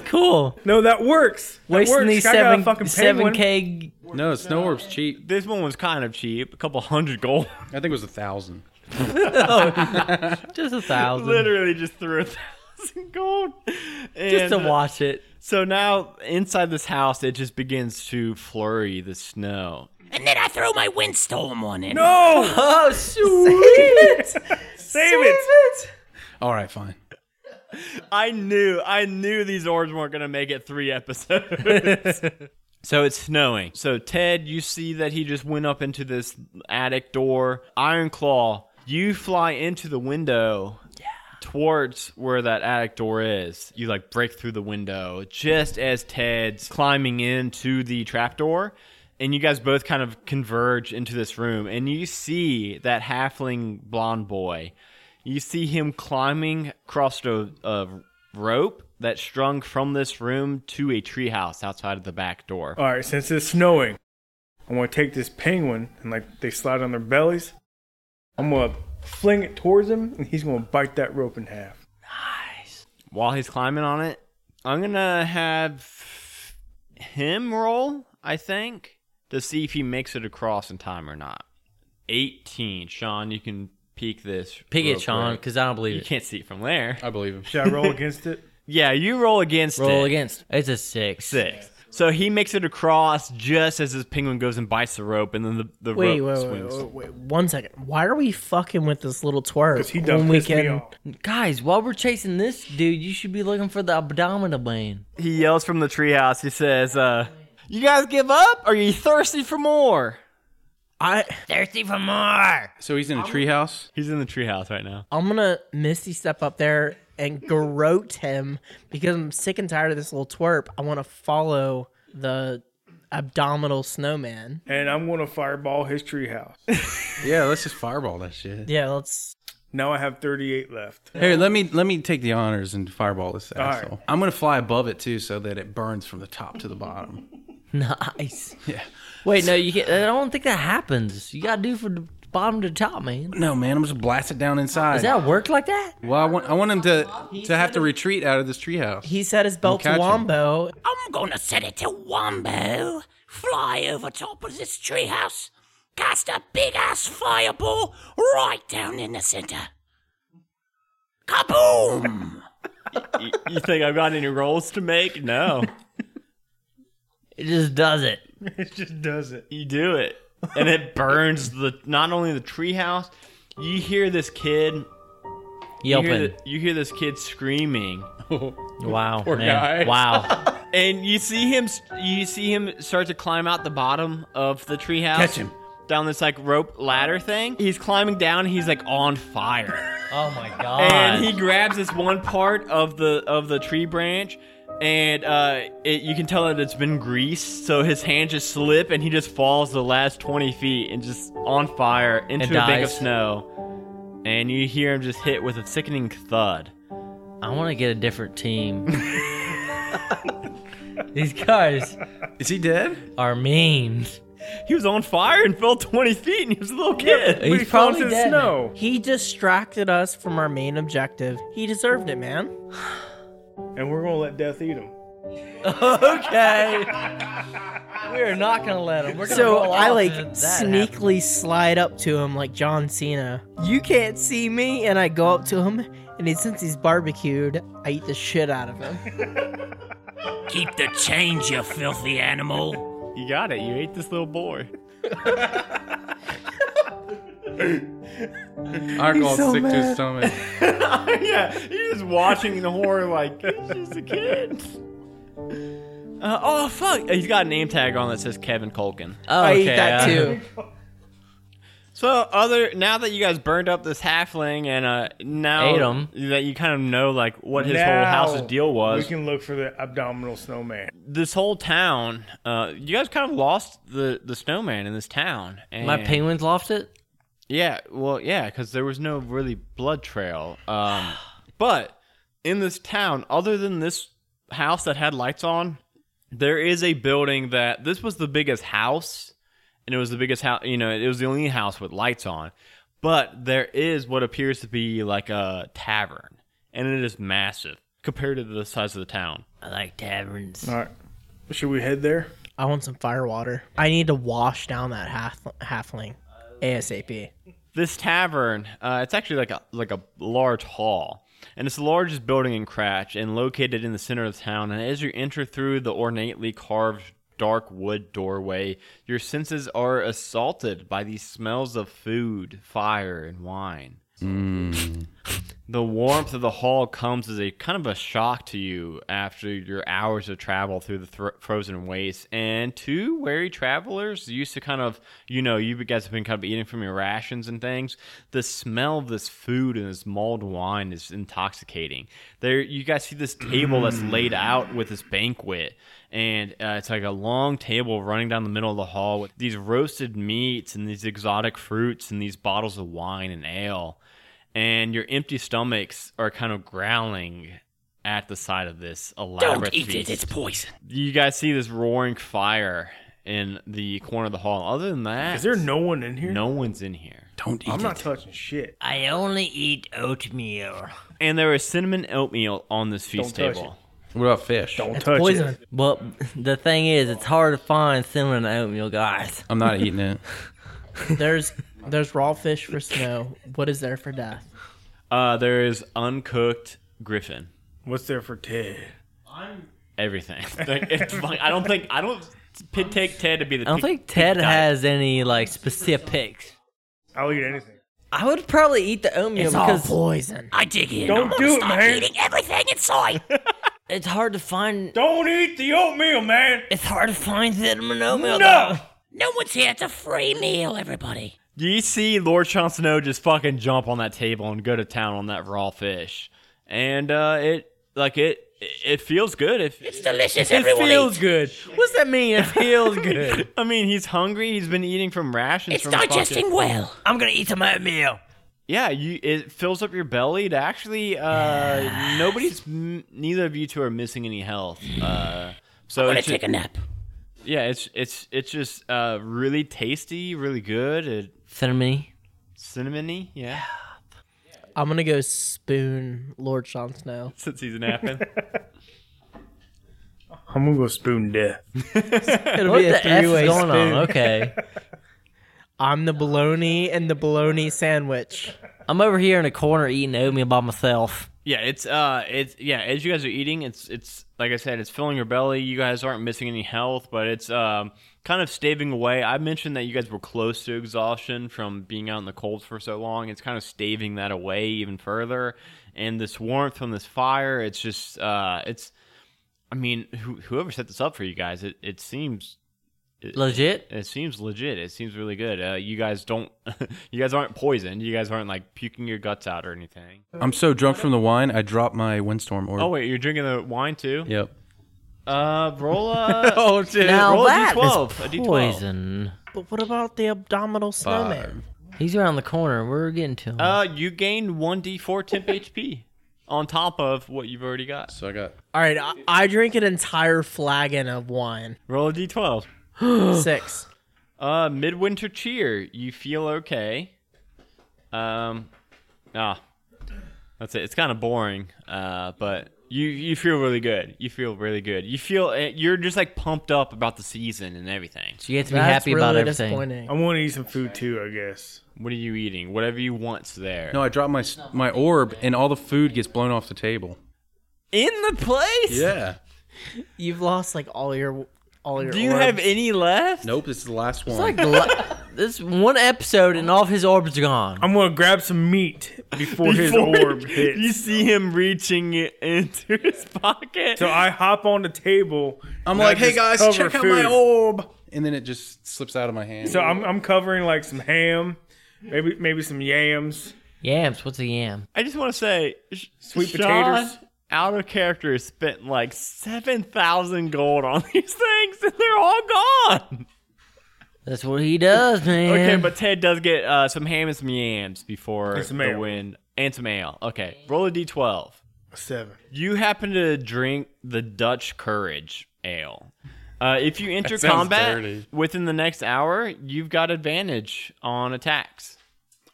Speaker 4: Cool.
Speaker 2: No, that works. That
Speaker 4: Wasting
Speaker 2: works.
Speaker 4: these
Speaker 2: I got a
Speaker 4: seven
Speaker 2: fucking
Speaker 4: seven
Speaker 2: penguin.
Speaker 4: k.
Speaker 3: No, snow orb's cheap.
Speaker 1: This one was kind of cheap, a couple hundred gold.
Speaker 3: I think it was a thousand.
Speaker 4: Oh. Just a thousand.
Speaker 1: Literally just threw a thousand gold.
Speaker 4: Just
Speaker 1: And,
Speaker 4: to
Speaker 1: uh,
Speaker 4: watch it.
Speaker 1: So now inside this house, it just begins to flurry the snow.
Speaker 6: And then I throw my windstorm on it.
Speaker 2: No,
Speaker 4: Oh, sweet.
Speaker 2: save it.
Speaker 3: All right, fine.
Speaker 1: I knew, I knew these orbs weren't gonna make it three episodes. so it's snowing. So Ted, you see that he just went up into this attic door. Iron Claw, you fly into the window. Towards where that attic door is, you like break through the window just as Ted's climbing into the trapdoor, and you guys both kind of converge into this room, and you see that halfling blonde boy you see him climbing across a, a rope that's strung from this room to a treehouse outside of the back door.
Speaker 2: All right. Since it's snowing, I'm gonna take this penguin and like they slide on their bellies. I'm gonna fling it towards him, and he's gonna bite that rope in half.
Speaker 1: While he's climbing on it, I'm gonna have him roll, I think, to see if he makes it across in time or not. 18. Sean, you can peek this.
Speaker 4: Pick
Speaker 1: real
Speaker 4: it, Sean,
Speaker 1: quick.
Speaker 4: because I don't believe
Speaker 1: You
Speaker 4: it.
Speaker 1: can't see it from there.
Speaker 3: I believe him.
Speaker 2: Should I roll against it?
Speaker 1: Yeah, you roll against it.
Speaker 4: Roll against. It's a six.
Speaker 1: Six. So he makes it across just as his penguin goes and bites the rope, and then the, the
Speaker 5: Wait,
Speaker 1: rope
Speaker 5: wait, wait,
Speaker 1: swings.
Speaker 5: wait, wait, one second. Why are we fucking with this little twerp
Speaker 2: Because he done pissed me off.
Speaker 4: Guys, while we're chasing this dude, you should be looking for the abdominal band.
Speaker 1: he yells from the treehouse. He says, uh, "You guys give up? Are you thirsty for more?"
Speaker 5: I
Speaker 4: Thirsty for more.
Speaker 3: So he's in a treehouse.
Speaker 1: He's in the treehouse right now.
Speaker 5: I'm gonna misty step up there and garrote him because I'm sick and tired of this little twerp. I want to follow the abdominal snowman.
Speaker 2: and I'm gonna fireball his treehouse.
Speaker 3: Yeah, let's just fireball that shit.
Speaker 5: Yeah, let's.
Speaker 2: now I have 38 left.
Speaker 3: Here, let me let me take the honors and fireball this
Speaker 2: right.
Speaker 3: asshole. I'm gonna fly above it too, so that it burns from the top to the bottom.
Speaker 4: Nice. Yeah. Wait, no, you can't. I don't think that happens. You gotta do from the bottom to the top, man.
Speaker 3: No, man, I'm just gonna blast it down inside.
Speaker 4: Does that work like that?
Speaker 3: well, I want I want him to to have to retreat out of this treehouse.
Speaker 5: He set his belt
Speaker 3: catch
Speaker 5: to
Speaker 3: him.
Speaker 5: Wombo.
Speaker 6: I'm gonna set it to Wombo, fly over top of this treehouse, cast a big ass fireball right down in the center. Kaboom!
Speaker 1: you, you think I've got any rolls to make? No.
Speaker 4: It just does it.
Speaker 2: it just does it.
Speaker 1: You do it, and it burns the not only the treehouse. You hear this kid. You hear,
Speaker 4: Yelping.
Speaker 1: the, you hear this kid screaming,
Speaker 4: Wow.
Speaker 3: Poor guy.
Speaker 4: man. Wow.
Speaker 1: and you see him. You see him start to climb out the bottom of the treehouse.
Speaker 3: Catch him.
Speaker 1: down this like rope ladder thing. He's climbing down. He's like on fire.
Speaker 4: oh my
Speaker 1: and
Speaker 4: god.
Speaker 1: he grabs this one part of the of the tree branch and uh, it, you can tell that it's been greased so his hands just slip and he just falls the last 20 feet and just on fire into
Speaker 4: And
Speaker 1: a bank of
Speaker 4: dies.
Speaker 1: snow and you hear him just hit with a sickening thud
Speaker 4: I want to get a different team. These guys
Speaker 3: Is he dead?
Speaker 4: are mean.
Speaker 1: he was on fire and fell 20 feet and he was a little kid
Speaker 2: But he
Speaker 4: He's
Speaker 2: fell
Speaker 4: probably
Speaker 2: into the
Speaker 4: dead.
Speaker 2: snow.
Speaker 5: He distracted us from our main objective. He deserved it, man.
Speaker 2: And we're going to let death eat him.
Speaker 4: Okay. we are not going to let him. We're gonna
Speaker 5: So
Speaker 4: roll
Speaker 5: I
Speaker 4: off
Speaker 5: like
Speaker 4: if that
Speaker 5: sneakily slide up to him like John Cena. You can't see me, and I go up to him, and he, since he's barbecued, I eat the shit out of him.
Speaker 6: Keep the change, you filthy animal.
Speaker 1: you got it you ate this little boy
Speaker 3: Alcohol sick to his stomach.
Speaker 1: yeah he's just watching the horror like he's just a kid uh, oh fuck he's got a name tag on that says kevin colkin
Speaker 4: Oh,
Speaker 5: I
Speaker 4: okay,
Speaker 5: eat that
Speaker 4: uh,
Speaker 5: too.
Speaker 1: So other now that you guys burned up this halfling and uh now
Speaker 4: Ate 'em.
Speaker 1: that you kind of know like what his
Speaker 2: Now,
Speaker 1: whole house's deal
Speaker 2: We
Speaker 1: was,
Speaker 2: can look for the abdominal snowman.
Speaker 1: this whole town, uh, you guys kind of lost the the snowman in this town. And
Speaker 4: My penguins lost it?
Speaker 1: Yeah, well, yeah, because there was no really blood trail. Um, but in this town, other than this house that had lights on, there is a building that this was the biggest house, and it was the biggest house. You know, it was the only house with lights on. But there is what appears to be like a tavern, and it is massive compared to the size of the town.
Speaker 4: I like taverns.
Speaker 2: All right. Should we head there?
Speaker 5: I want some fire water. I need to wash down that half halfling ASAP.
Speaker 1: this tavern uh, it's actually like a like a large hall and it's the largest building in cratch and located in the center of town and as you enter through the ornately carved dark wood doorway your senses are assaulted by these smells of food fire and wine the warmth of the hall comes as a kind of a shock to you after your hours of travel through the thr frozen wastes. And two wary travelers used to kind of, you know, you guys have been kind of eating from your rations and things. The smell of this food and this mulled wine is intoxicating. There, you guys see this table that's laid out with this banquet, and uh, it's like a long table running down the middle of the hall with these roasted meats and these exotic fruits and these bottles of wine and ale and your empty stomachs are kind of growling at the sight of this elaborate
Speaker 6: Don't eat it,
Speaker 1: feast.
Speaker 6: it's poison.
Speaker 1: you guys see this roaring fire in the corner of the hall. Other than that,
Speaker 2: Is there no one in here?
Speaker 1: no one's in here?
Speaker 3: Don't eat
Speaker 2: I'm
Speaker 3: it.
Speaker 2: not touching shit.
Speaker 4: I only eat oatmeal.
Speaker 1: And there is cinnamon oatmeal on this feast
Speaker 2: Don't touch
Speaker 1: table.
Speaker 3: what about fish?
Speaker 2: Don't
Speaker 5: It's
Speaker 2: touch
Speaker 5: poison.
Speaker 2: it.
Speaker 4: Well, the thing is, it's hard to find cinnamon oatmeal, guys.
Speaker 3: I'm not eating it.
Speaker 5: There's there's raw fish for snow. What is there for death?
Speaker 1: Uh, there is uncooked griffin.
Speaker 2: What's there for Ted?
Speaker 1: Everything. Like, it's like- I don't think I don't p- take Ted to be the.
Speaker 4: I don't think Ted has any like specifics.
Speaker 2: I'll eat anything.
Speaker 4: I would probably eat the oatmeal because
Speaker 5: poison.
Speaker 6: I dig in. I'm
Speaker 2: Don't
Speaker 6: gonna
Speaker 2: do it,
Speaker 6: stop
Speaker 2: man.
Speaker 6: eating everything in sight.
Speaker 4: it's hard to find.
Speaker 2: Don't eat the oatmeal, man.
Speaker 4: It's hard to find cinnamon oatmeal.
Speaker 2: No.
Speaker 6: no one's here. It's a free meal, everybody.
Speaker 1: You see Lord Jon Snow just fucking jump on that table and go to town on that raw fish, and uh, it like it it feels good. It,
Speaker 6: It's delicious,
Speaker 1: it
Speaker 6: everyone.
Speaker 1: feels
Speaker 6: Eats.
Speaker 1: good.
Speaker 4: What's that mean? It feels good.
Speaker 1: I mean, he's hungry. He's been eating from rations.
Speaker 6: It's
Speaker 1: from fucking-
Speaker 6: digesting well.
Speaker 4: I'm gonna eat some oatmeal.
Speaker 1: yeah, you it fills up your belly. To actually, uh, nobody's m- neither of you two are missing any health. Uh, so
Speaker 6: I'm gonna
Speaker 1: it's ju-
Speaker 6: take a nap.
Speaker 1: yeah, it's it's it's just uh, really tasty, really good. It,
Speaker 4: Cinnamon.
Speaker 1: cinnamony, yeah.
Speaker 5: I'm gonna go spoon Lord Jon Snow.
Speaker 1: Since he's napping.
Speaker 2: I'm gonna go spoon death.
Speaker 5: It'll
Speaker 4: What
Speaker 5: be a
Speaker 4: the f
Speaker 5: three-way
Speaker 4: is going
Speaker 5: spoon.
Speaker 4: on? Okay,
Speaker 5: I'm the bologna and the bologna sandwich.
Speaker 4: I'm over here in a corner eating oatmeal by myself.
Speaker 1: Yeah, it's uh, it's yeah. As you guys are eating, it's it's like I said, it's filling your belly. You guys aren't missing any health, but it's um, kind of staving away. I mentioned that you guys were close to exhaustion from being out in the cold for so long. It's kind of staving that away even further, and this warmth from this fire, it's just uh, it's. I mean, who, whoever set this up for you guys, it, it seems
Speaker 4: Legit.
Speaker 1: it seems legit. It seems really good. Uh, you guys don't, you guys aren't poisoned. You guys aren't like puking your guts out or anything.
Speaker 3: I'm so drunk from the wine, I dropped my windstorm orb.
Speaker 1: Oh wait, you're drinking the wine too?
Speaker 3: Yep.
Speaker 1: Uh, roll a. oh shit!
Speaker 4: Now
Speaker 1: roll
Speaker 4: that
Speaker 1: a d12. A d12.
Speaker 4: Poison.
Speaker 5: But what about the abdominal snowman?
Speaker 4: He's around the corner. We're getting to him.
Speaker 1: Uh, you gain one d4 temp HP on top of what you've already got.
Speaker 3: So I got
Speaker 5: All right, I, I drink an entire flagon of wine.
Speaker 1: Roll a d12.
Speaker 5: Six.
Speaker 1: Uh, midwinter cheer. You feel okay. Um, ah, that's it. It's kind of boring. Uh, but you you feel really good. You feel really good. You feel eh, you're just like pumped up about the season and everything.
Speaker 4: so you have to be
Speaker 5: That's
Speaker 4: happy
Speaker 5: really
Speaker 4: about everything.
Speaker 5: disappointing.
Speaker 2: I want to eat some food too, I guess.
Speaker 1: What are you eating? Whatever you want's there.
Speaker 3: no. I dropped my s- my orb, and all the food gets blown off the table.
Speaker 1: In the place.
Speaker 3: Yeah.
Speaker 5: You've lost like all your all your.
Speaker 1: Do you
Speaker 5: orbs.
Speaker 1: have any left?
Speaker 3: Nope. This is the last one.
Speaker 4: Like la- this one episode and all of his orbs are gone.
Speaker 2: I'm gonna grab some meat before, his
Speaker 1: Before
Speaker 2: orb
Speaker 1: you-
Speaker 2: hits.
Speaker 1: You see him reaching it into his pocket.
Speaker 2: So I hop on the table.
Speaker 3: I'm
Speaker 2: and I
Speaker 3: like, hey
Speaker 2: just
Speaker 3: guys,
Speaker 2: cover
Speaker 3: check out my
Speaker 2: food."
Speaker 3: orb, and then it just slips out of my hand.
Speaker 2: So I'm, I'm covering like some ham, maybe maybe some yams.
Speaker 4: Yams. What's a yam?
Speaker 1: I just want to say, Sh-
Speaker 2: Sweet
Speaker 1: Sean,
Speaker 2: potatoes.
Speaker 1: Out of character has spent like seven thousand gold on these things, and they're all gone.
Speaker 4: That's what he does, man.
Speaker 1: Okay, but Ted does get uh, some ham and some yams before
Speaker 2: And some
Speaker 1: the
Speaker 2: ale.
Speaker 1: win, and some ale. Okay, roll a d12.
Speaker 2: Seven.
Speaker 1: You happen to drink the Dutch Courage Ale. Uh, if you enter
Speaker 3: sounds
Speaker 1: combat
Speaker 3: dirty.
Speaker 1: within the next hour, you've got advantage on attacks,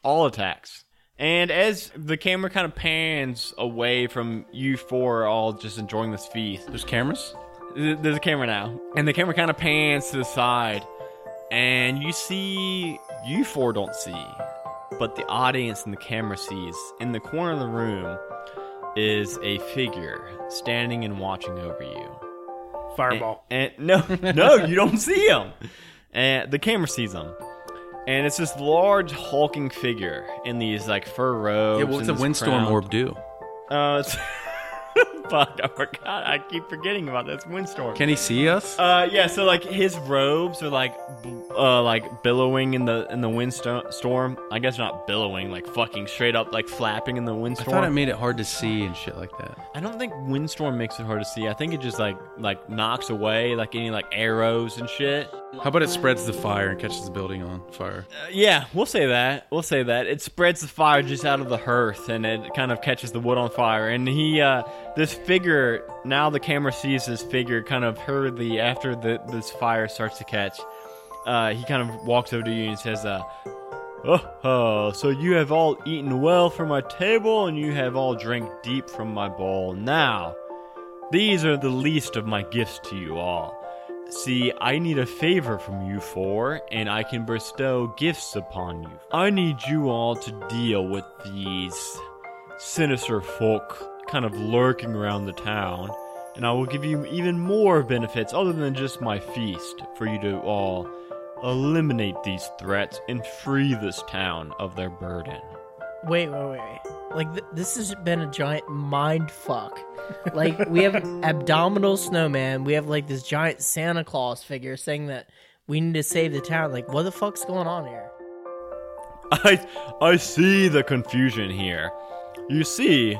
Speaker 1: all attacks. And as the camera kind of pans away from you four all just enjoying this feast,
Speaker 3: There's cameras.
Speaker 1: th- there's a camera now, and the camera kind of pans to the side, and you see you four don't see, but the audience and the camera sees in the corner of the room is a figure standing and watching over you.
Speaker 2: Fireball.
Speaker 1: And, and- no, no, you don't see him. And the camera sees him. And it's this large hulking figure in these like fur robes.
Speaker 3: Yeah. What's
Speaker 1: and
Speaker 3: a
Speaker 1: this
Speaker 3: windstorm
Speaker 1: crown.
Speaker 3: orb do?
Speaker 1: Uh, it's- fuck, I forgot. I keep forgetting about this windstorm.
Speaker 3: Can he see us?
Speaker 1: Uh, yeah. So like his robes are like, bl- uh, like billowing in the in the windstorm. I guess not billowing, like fucking straight up, like flapping in the
Speaker 3: I
Speaker 1: windstorm.
Speaker 3: thought it made it hard to see and shit like that.
Speaker 1: I don't think windstorm makes it hard to see. I think it just like like knocks away like any like arrows and shit.
Speaker 3: How about it spreads the fire and catches the building on fire?
Speaker 1: Uh, yeah, we'll say that. We'll say that. It spreads the fire just out of the hearth and it kind of catches the wood on fire. And he, uh, this figure, now the camera sees this figure kind of hurriedly after the, this fire starts to catch. Uh, he kind of walks over to you and says, uh, Oh, oh, so you have all eaten well from my table and you have all drank deep from my bowl. Now, these are the least of my gifts to you all. See, I need a favor from you four, and I can bestow gifts upon you. I need you all to deal with these sinister folk kind of lurking around the town, and I will give you even more benefits other than just my feast for you to all eliminate these threats and free this town of their burden.
Speaker 5: Wait, wait, wait. Like th- this has been a giant mind fuck. Like we have abdominal snowman. We have like this giant Santa Claus figure saying that we need to save the town. Like what the fuck's going on here?
Speaker 1: I I see the confusion here. You see,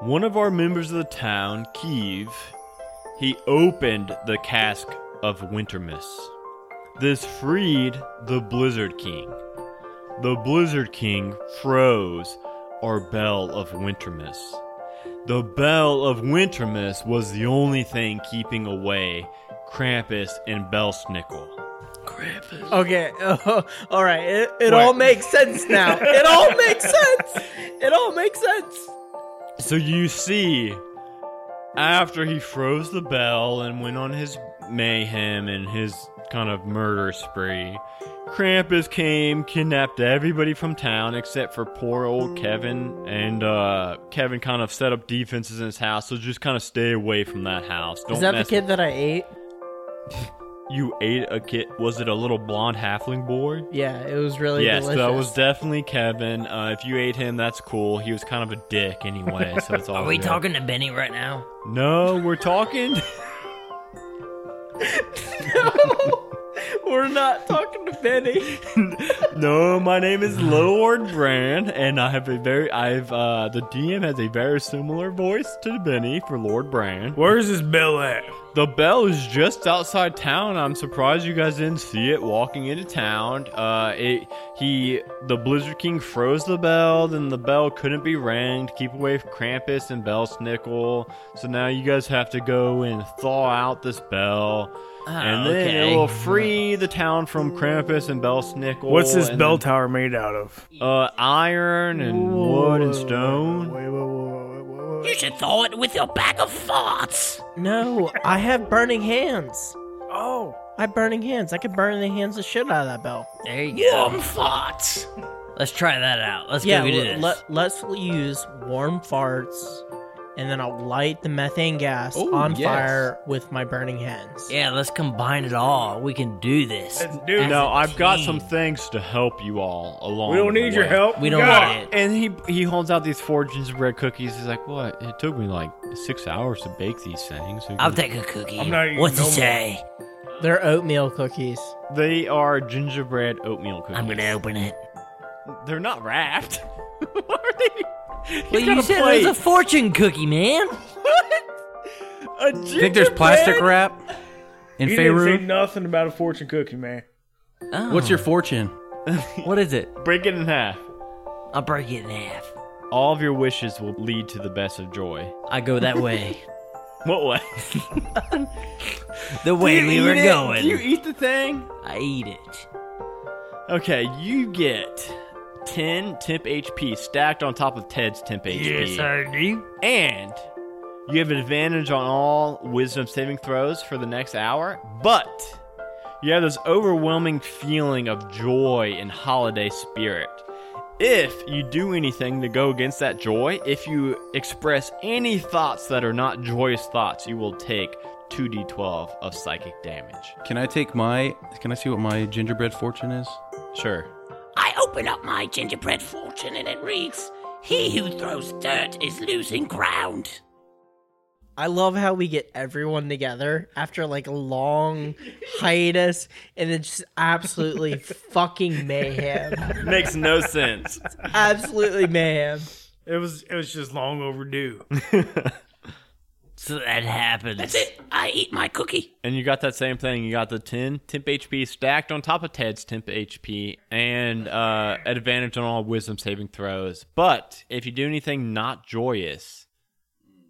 Speaker 1: one of our members of the town, Kiev, he opened the cask of Wintermiss. This freed the Blizzard King. The Blizzard King froze our Bell of Wintermiss. The Bell of Wintermiss was the only thing keeping away Krampus and Belsnickel.
Speaker 5: Okay, all right. It, it all makes sense now. It all makes sense. It all makes sense.
Speaker 1: So you see, after he froze the bell and went on his mayhem and his kind of murder spree, Krampus came, kidnapped everybody from town except for poor old Kevin. And uh, Kevin kind of set up defenses in his house, so just kind of stay away from that house. Don't
Speaker 5: Is that the
Speaker 1: mess
Speaker 5: kid that I ate?
Speaker 1: You ate a kid. Was it a little blonde halfling boy?
Speaker 5: Yeah, it was really
Speaker 1: yes,
Speaker 5: delicious.
Speaker 1: that was definitely Kevin. Uh, if you ate him, that's cool. He was kind of a dick anyway, so it's all.
Speaker 4: Are we
Speaker 1: good.
Speaker 4: talking to Benny right now?
Speaker 1: No, we're talking.
Speaker 5: We're not talking to Benny.
Speaker 1: no, my name is Lord Brand, and I have a very. I've uh, the DM has a very similar voice to Benny for Lord Brand.
Speaker 2: Where's this bell at?
Speaker 1: The bell is just outside town. I'm surprised you guys didn't see it walking into town. Uh, it he the Blizzard King froze the bell, then the bell couldn't be rang to keep away Krampus and Bell Snickle. So now you guys have to go and thaw out this bell, and then
Speaker 4: okay.
Speaker 1: it will free the town from Krampus and Bell Snickle.
Speaker 2: What's this
Speaker 1: and
Speaker 2: bell tower made out of?
Speaker 1: then, Uh, iron and wood and stone.
Speaker 2: Wait, whoa, whoa, whoa, whoa, whoa.
Speaker 6: You should thaw it with your bag of farts.
Speaker 5: No, I have burning hands.
Speaker 2: Oh,
Speaker 5: I have burning hands. I could burn the hands the shit out of that bell.
Speaker 4: There you go.
Speaker 6: Warm farts.
Speaker 4: Let's try that out. Let's
Speaker 5: yeah,
Speaker 4: go do
Speaker 5: le-
Speaker 4: this.
Speaker 5: let, us use warm farts, and then I'll light the methane gas
Speaker 3: Ooh,
Speaker 5: on
Speaker 3: yes.
Speaker 5: fire with my burning hands.
Speaker 4: yeah, let's combine it all. We can do this.
Speaker 2: Let's do it.
Speaker 1: Now I've got some things to help you all along.
Speaker 2: we don't
Speaker 1: the
Speaker 2: need your
Speaker 1: way.
Speaker 2: help.
Speaker 4: We don't
Speaker 2: got
Speaker 4: need it.
Speaker 1: And he he holds out these four gingerbread cookies. He's like, "What? It took me like six hours to bake these things."
Speaker 4: I'll take a cookie.
Speaker 2: I'm not eating
Speaker 4: What's
Speaker 2: no
Speaker 4: it
Speaker 2: more.
Speaker 4: say?
Speaker 5: They're oatmeal cookies.
Speaker 1: they are gingerbread oatmeal cookies.
Speaker 4: I'm gonna open it.
Speaker 1: They're not wrapped. what are they? He's
Speaker 4: Well,
Speaker 1: got
Speaker 4: you
Speaker 1: a
Speaker 4: said
Speaker 1: plate.
Speaker 4: it was a fortune cookie, man.
Speaker 1: a
Speaker 3: You think there's
Speaker 1: gingerbread-
Speaker 3: plastic wrap in
Speaker 2: He didn't say
Speaker 3: Faerun?
Speaker 2: nothing about a fortune cookie, man.
Speaker 4: Oh,
Speaker 3: What's your fortune?
Speaker 4: What is it?
Speaker 1: Break it in half.
Speaker 4: I'll break it in half.
Speaker 1: All of your wishes will lead to the best of joy.
Speaker 4: I go that way.
Speaker 1: What way?
Speaker 4: the way we were going.
Speaker 1: Do you eat the thing?
Speaker 4: I eat it.
Speaker 1: Okay, you get 10 temp HP stacked on top of Ted's temp HP. Yes, I do. And you have an advantage on all wisdom saving throws for the next hour, but you have this overwhelming feeling of joy and holiday spirit. If you do anything to go against that joy, if you express any thoughts that are not joyous thoughts, you will take 2d12 of psychic damage.
Speaker 3: Can I take my? Can I see what my gingerbread fortune is?
Speaker 1: Sure.
Speaker 6: I open up my gingerbread fortune and it reads He who throws dirt is losing ground.
Speaker 5: I love how we get everyone together after like a long hiatus and then just absolutely fucking mayhem.
Speaker 1: Makes no sense.
Speaker 5: Absolutely mayhem.
Speaker 2: It was it was just long overdue.
Speaker 4: So that happens.
Speaker 6: That's it. I eat my cookie.
Speaker 1: And you got that same thing. You got the 10 temp HP stacked on top of Ted's temp HP and uh, advantage on all wisdom saving throws. But if you do anything not joyous,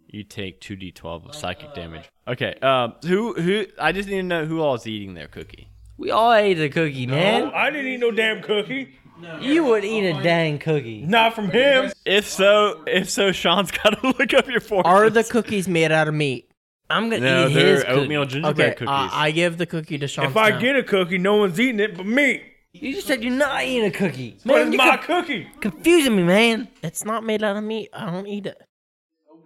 Speaker 1: you take 2d12 of psychic damage. Okay. Um, who, who, I just need to know who all is eating their cookie.
Speaker 4: We all ate a cookie,
Speaker 2: Oh,
Speaker 4: man.
Speaker 2: I didn't eat no damn cookie.
Speaker 4: You would eat a dang cookie.
Speaker 2: Not from him.
Speaker 1: If so, if so, Sean's got to look up your fortune.
Speaker 5: Are the cookies made out of meat?
Speaker 4: I'm gonna
Speaker 1: no,
Speaker 4: eat his
Speaker 1: they're
Speaker 4: cookie.
Speaker 1: oatmeal gingerbread
Speaker 5: Okay,
Speaker 1: cookies.
Speaker 5: uh, I give the cookie to Sean.
Speaker 2: If I get a cookie, no one's eating it but me.
Speaker 4: You just said you're not eating a cookie.
Speaker 2: But
Speaker 4: Man,
Speaker 2: it's
Speaker 4: you're
Speaker 2: my
Speaker 4: co-
Speaker 2: cookie.
Speaker 4: confusing me, man.
Speaker 5: it's not made out of meat. I don't eat it.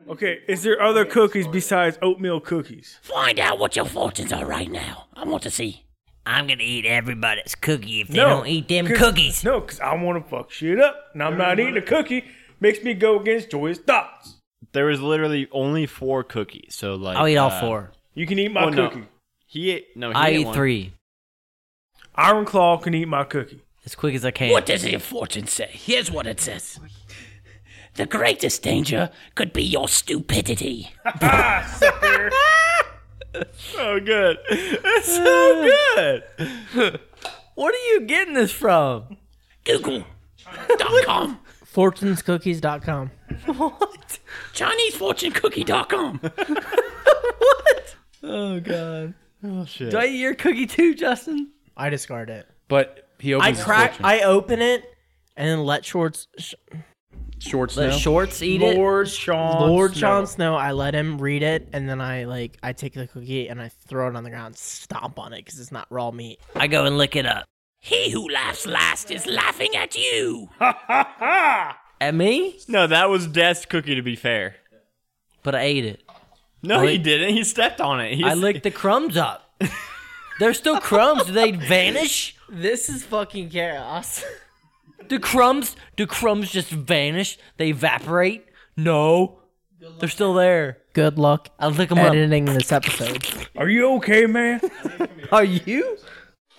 Speaker 2: Okay, is there other cookies besides oatmeal cookies?
Speaker 6: Find out what your fortunes are right now. I want to see.
Speaker 4: I'm gonna eat everybody's cookie if they
Speaker 2: No,
Speaker 4: don't eat them
Speaker 2: 'cause-
Speaker 4: cookies.
Speaker 2: No, because I want to fuck shit up. And I'm not eating a cookie. Makes me go against joyous thoughts.
Speaker 1: there was literally only four cookies. So, like,
Speaker 4: I'll eat all
Speaker 1: uh,
Speaker 4: four.
Speaker 2: You can eat my
Speaker 1: Well, no.
Speaker 2: cookie.
Speaker 1: He ate, no, he
Speaker 4: I
Speaker 1: ate
Speaker 4: eat
Speaker 1: one.
Speaker 4: three
Speaker 2: Iron Claw can eat my cookie.
Speaker 4: as quick as I can.
Speaker 6: What does your fortune say? Here's what it says The greatest danger could be your stupidity.
Speaker 2: Ah,
Speaker 1: So good. It's so good.
Speaker 4: What are you getting this from?
Speaker 6: Google. dot com.
Speaker 5: Fortunescookies.com.
Speaker 6: ChineseFortuneCookie.com.
Speaker 4: Oh God!
Speaker 1: Oh, shit.
Speaker 4: Do I eat your cookie too, Justin?
Speaker 5: I discard it.
Speaker 3: But he opens
Speaker 5: I
Speaker 3: his
Speaker 5: crack.
Speaker 3: fortune.
Speaker 5: I open it and then let Shorts, sh-
Speaker 3: Shorts
Speaker 4: Let
Speaker 3: now.
Speaker 4: shorts eat
Speaker 2: Lord Sean.
Speaker 5: Lord
Speaker 2: Snow.
Speaker 5: Jon Snow. I let him read it and then I like I take the cookie and I throw it on the ground, stomp on it because it's not raw meat.
Speaker 4: it. I go and lick it up.
Speaker 6: He who laughs last is laughing at you.
Speaker 4: At me?
Speaker 1: No, that was Death's cookie. To be fair,
Speaker 4: But I ate it.
Speaker 1: no,
Speaker 4: I
Speaker 1: he
Speaker 4: lick-
Speaker 1: didn't. He stepped on it. He's,
Speaker 4: I licked the crumbs up. There's still crumbs. Do they vanish?
Speaker 5: This is fucking chaos.
Speaker 4: Do crumbs? Do crumbs just vanish? They evaporate? No, they're still there.
Speaker 5: Good luck
Speaker 4: I lick them up. Uh,
Speaker 5: editing this episode.
Speaker 2: Are you okay, man?
Speaker 4: Are you?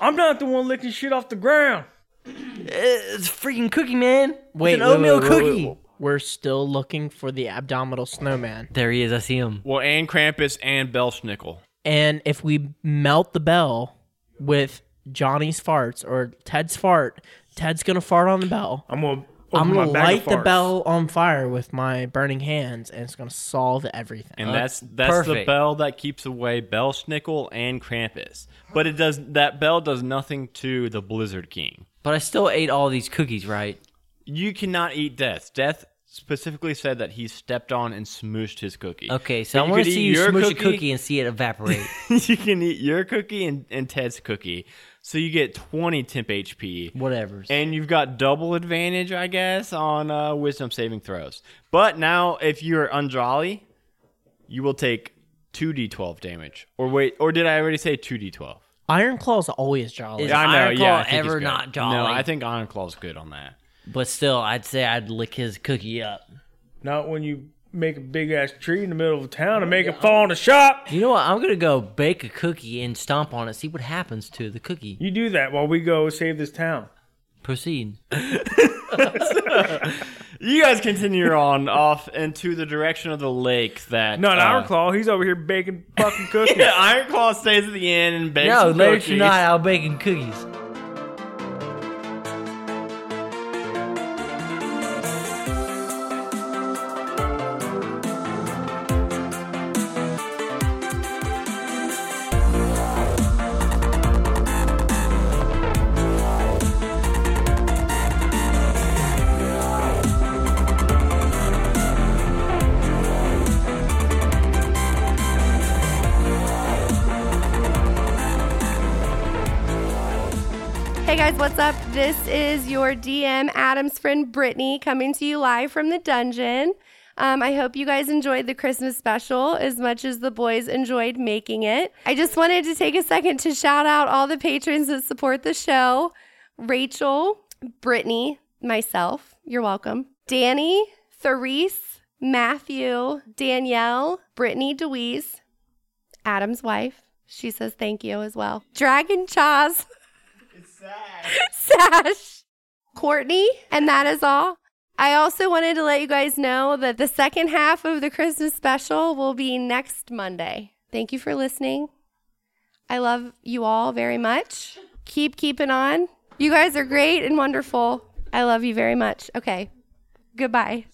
Speaker 2: I'm not the one licking shit off the ground.
Speaker 4: It's a freaking cookie, man.
Speaker 5: Wait,
Speaker 4: it's an oatmeal cookie.
Speaker 5: We're still looking for the abdominal snowman.
Speaker 4: There he is. I see him.
Speaker 1: well, and Krampus and Belschnickel.
Speaker 5: And if we melt the bell with Johnny's farts or Ted's fart, Ted's gonna fart on the bell.
Speaker 2: I'm gonna.
Speaker 5: I'm
Speaker 2: open my
Speaker 5: gonna
Speaker 2: bag
Speaker 5: light
Speaker 2: of
Speaker 5: the
Speaker 2: farts.
Speaker 5: bell on fire with my burning hands, and it's gonna solve everything.
Speaker 1: And that's that's the
Speaker 4: perfect.
Speaker 1: bell that keeps away Belschnickel and Krampus. But it does that bell does nothing to the Blizzard King.
Speaker 4: But I still ate all these cookies, right?
Speaker 1: You cannot eat Death. Death specifically said that he stepped on and smooshed his cookie.
Speaker 4: Okay, so
Speaker 1: But
Speaker 4: I
Speaker 1: you could
Speaker 4: want to
Speaker 1: eat
Speaker 4: see you
Speaker 1: your
Speaker 4: smoosh a cookie and see it evaporate.
Speaker 1: you can eat your cookie and, and Ted's cookie. So you get 20 temp HP.
Speaker 4: Whatever.
Speaker 1: And you've got double advantage, I guess, on uh, wisdom saving throws. But now, if you're unjolly, you will take 2d12 damage. Or wait, or did I already say 2d12?
Speaker 5: Iron Claw's always jolly.
Speaker 4: Is
Speaker 1: I know,
Speaker 4: Iron
Speaker 1: yeah. I
Speaker 4: Claw
Speaker 1: think it's
Speaker 4: ever
Speaker 1: good.
Speaker 4: not jolly?
Speaker 1: No, I think Iron Claw's good on that.
Speaker 4: But still, I'd say I'd lick his cookie up.
Speaker 2: Not when you make a big ass tree in the middle of town and make it fall in the shop.
Speaker 4: You know what? I'm gonna go bake a cookie and stomp on it. See what happens to the cookie.
Speaker 2: You do that while we go save this town.
Speaker 4: Proceed.
Speaker 1: You guys continue on off into the direction of the lake that.
Speaker 2: Not
Speaker 1: uh,
Speaker 2: our claw. He's over here baking fucking cookies.
Speaker 1: Yeah, Iron Claw stays at the inn and bakes
Speaker 4: No,
Speaker 1: some
Speaker 4: later
Speaker 1: cookies.
Speaker 4: tonight I'll baking cookies.
Speaker 7: Hey guys, what's up? This is your DM, Adam's friend Brittany, coming to you live from the dungeon. Um, I hope you guys enjoyed the Christmas special as much as the boys enjoyed making it. I just wanted to take a second to shout out all the patrons that support the show Rachel, Brittany, myself. You're welcome. Danny, Therese, Matthew, Danielle, Brittany DeWeese, Adam's wife. She says thank you as well. Dragon Chaz. Sash, Courtney, and that is all. I also wanted to let you guys know that the second half of the Christmas special will be next Monday. Thank you for listening. I love you all very much. Keep keeping on. You guys are great and wonderful. I love you very much. Okay. Goodbye.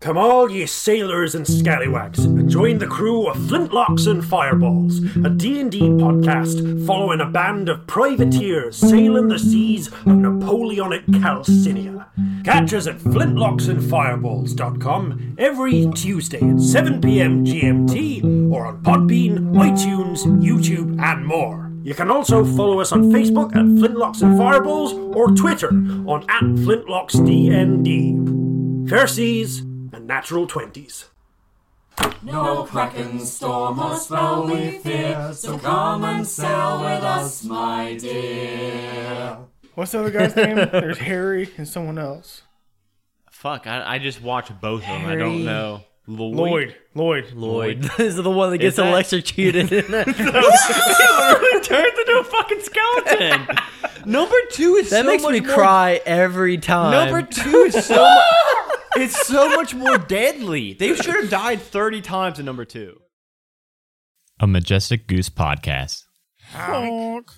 Speaker 8: Come all ye sailors and scallywags, and join the crew of Flintlocks and Fireballs, a D&D podcast following a band of privateers sailing the seas of Napoleonic Calcinia. Catch us at flintlocksandfireballs.com every Tuesday at 7pm GMT, or on Podbean, iTunes, YouTube, and more. You can also follow us on Facebook at Flintlocks and Fireballs, or Twitter on at FlintlocksDND. Fair seas and natural 20s.
Speaker 2: What's the other guy's name? There's Harry and someone else.
Speaker 1: Fuck, I, I just watched both of them. I don't know. Lloyd.
Speaker 2: Lloyd. Lloyd.
Speaker 4: Lloyd. this is the one that gets
Speaker 1: that-
Speaker 4: electrocuted.
Speaker 1: Turned into a fucking skeleton. Number two is
Speaker 4: that
Speaker 1: so
Speaker 4: makes
Speaker 1: much
Speaker 4: me
Speaker 1: more-
Speaker 4: cry every time.
Speaker 1: Number two is so. mu- it's so much more deadly. They should have died thirty times in number two. A majestic goose podcast.
Speaker 2: Honk.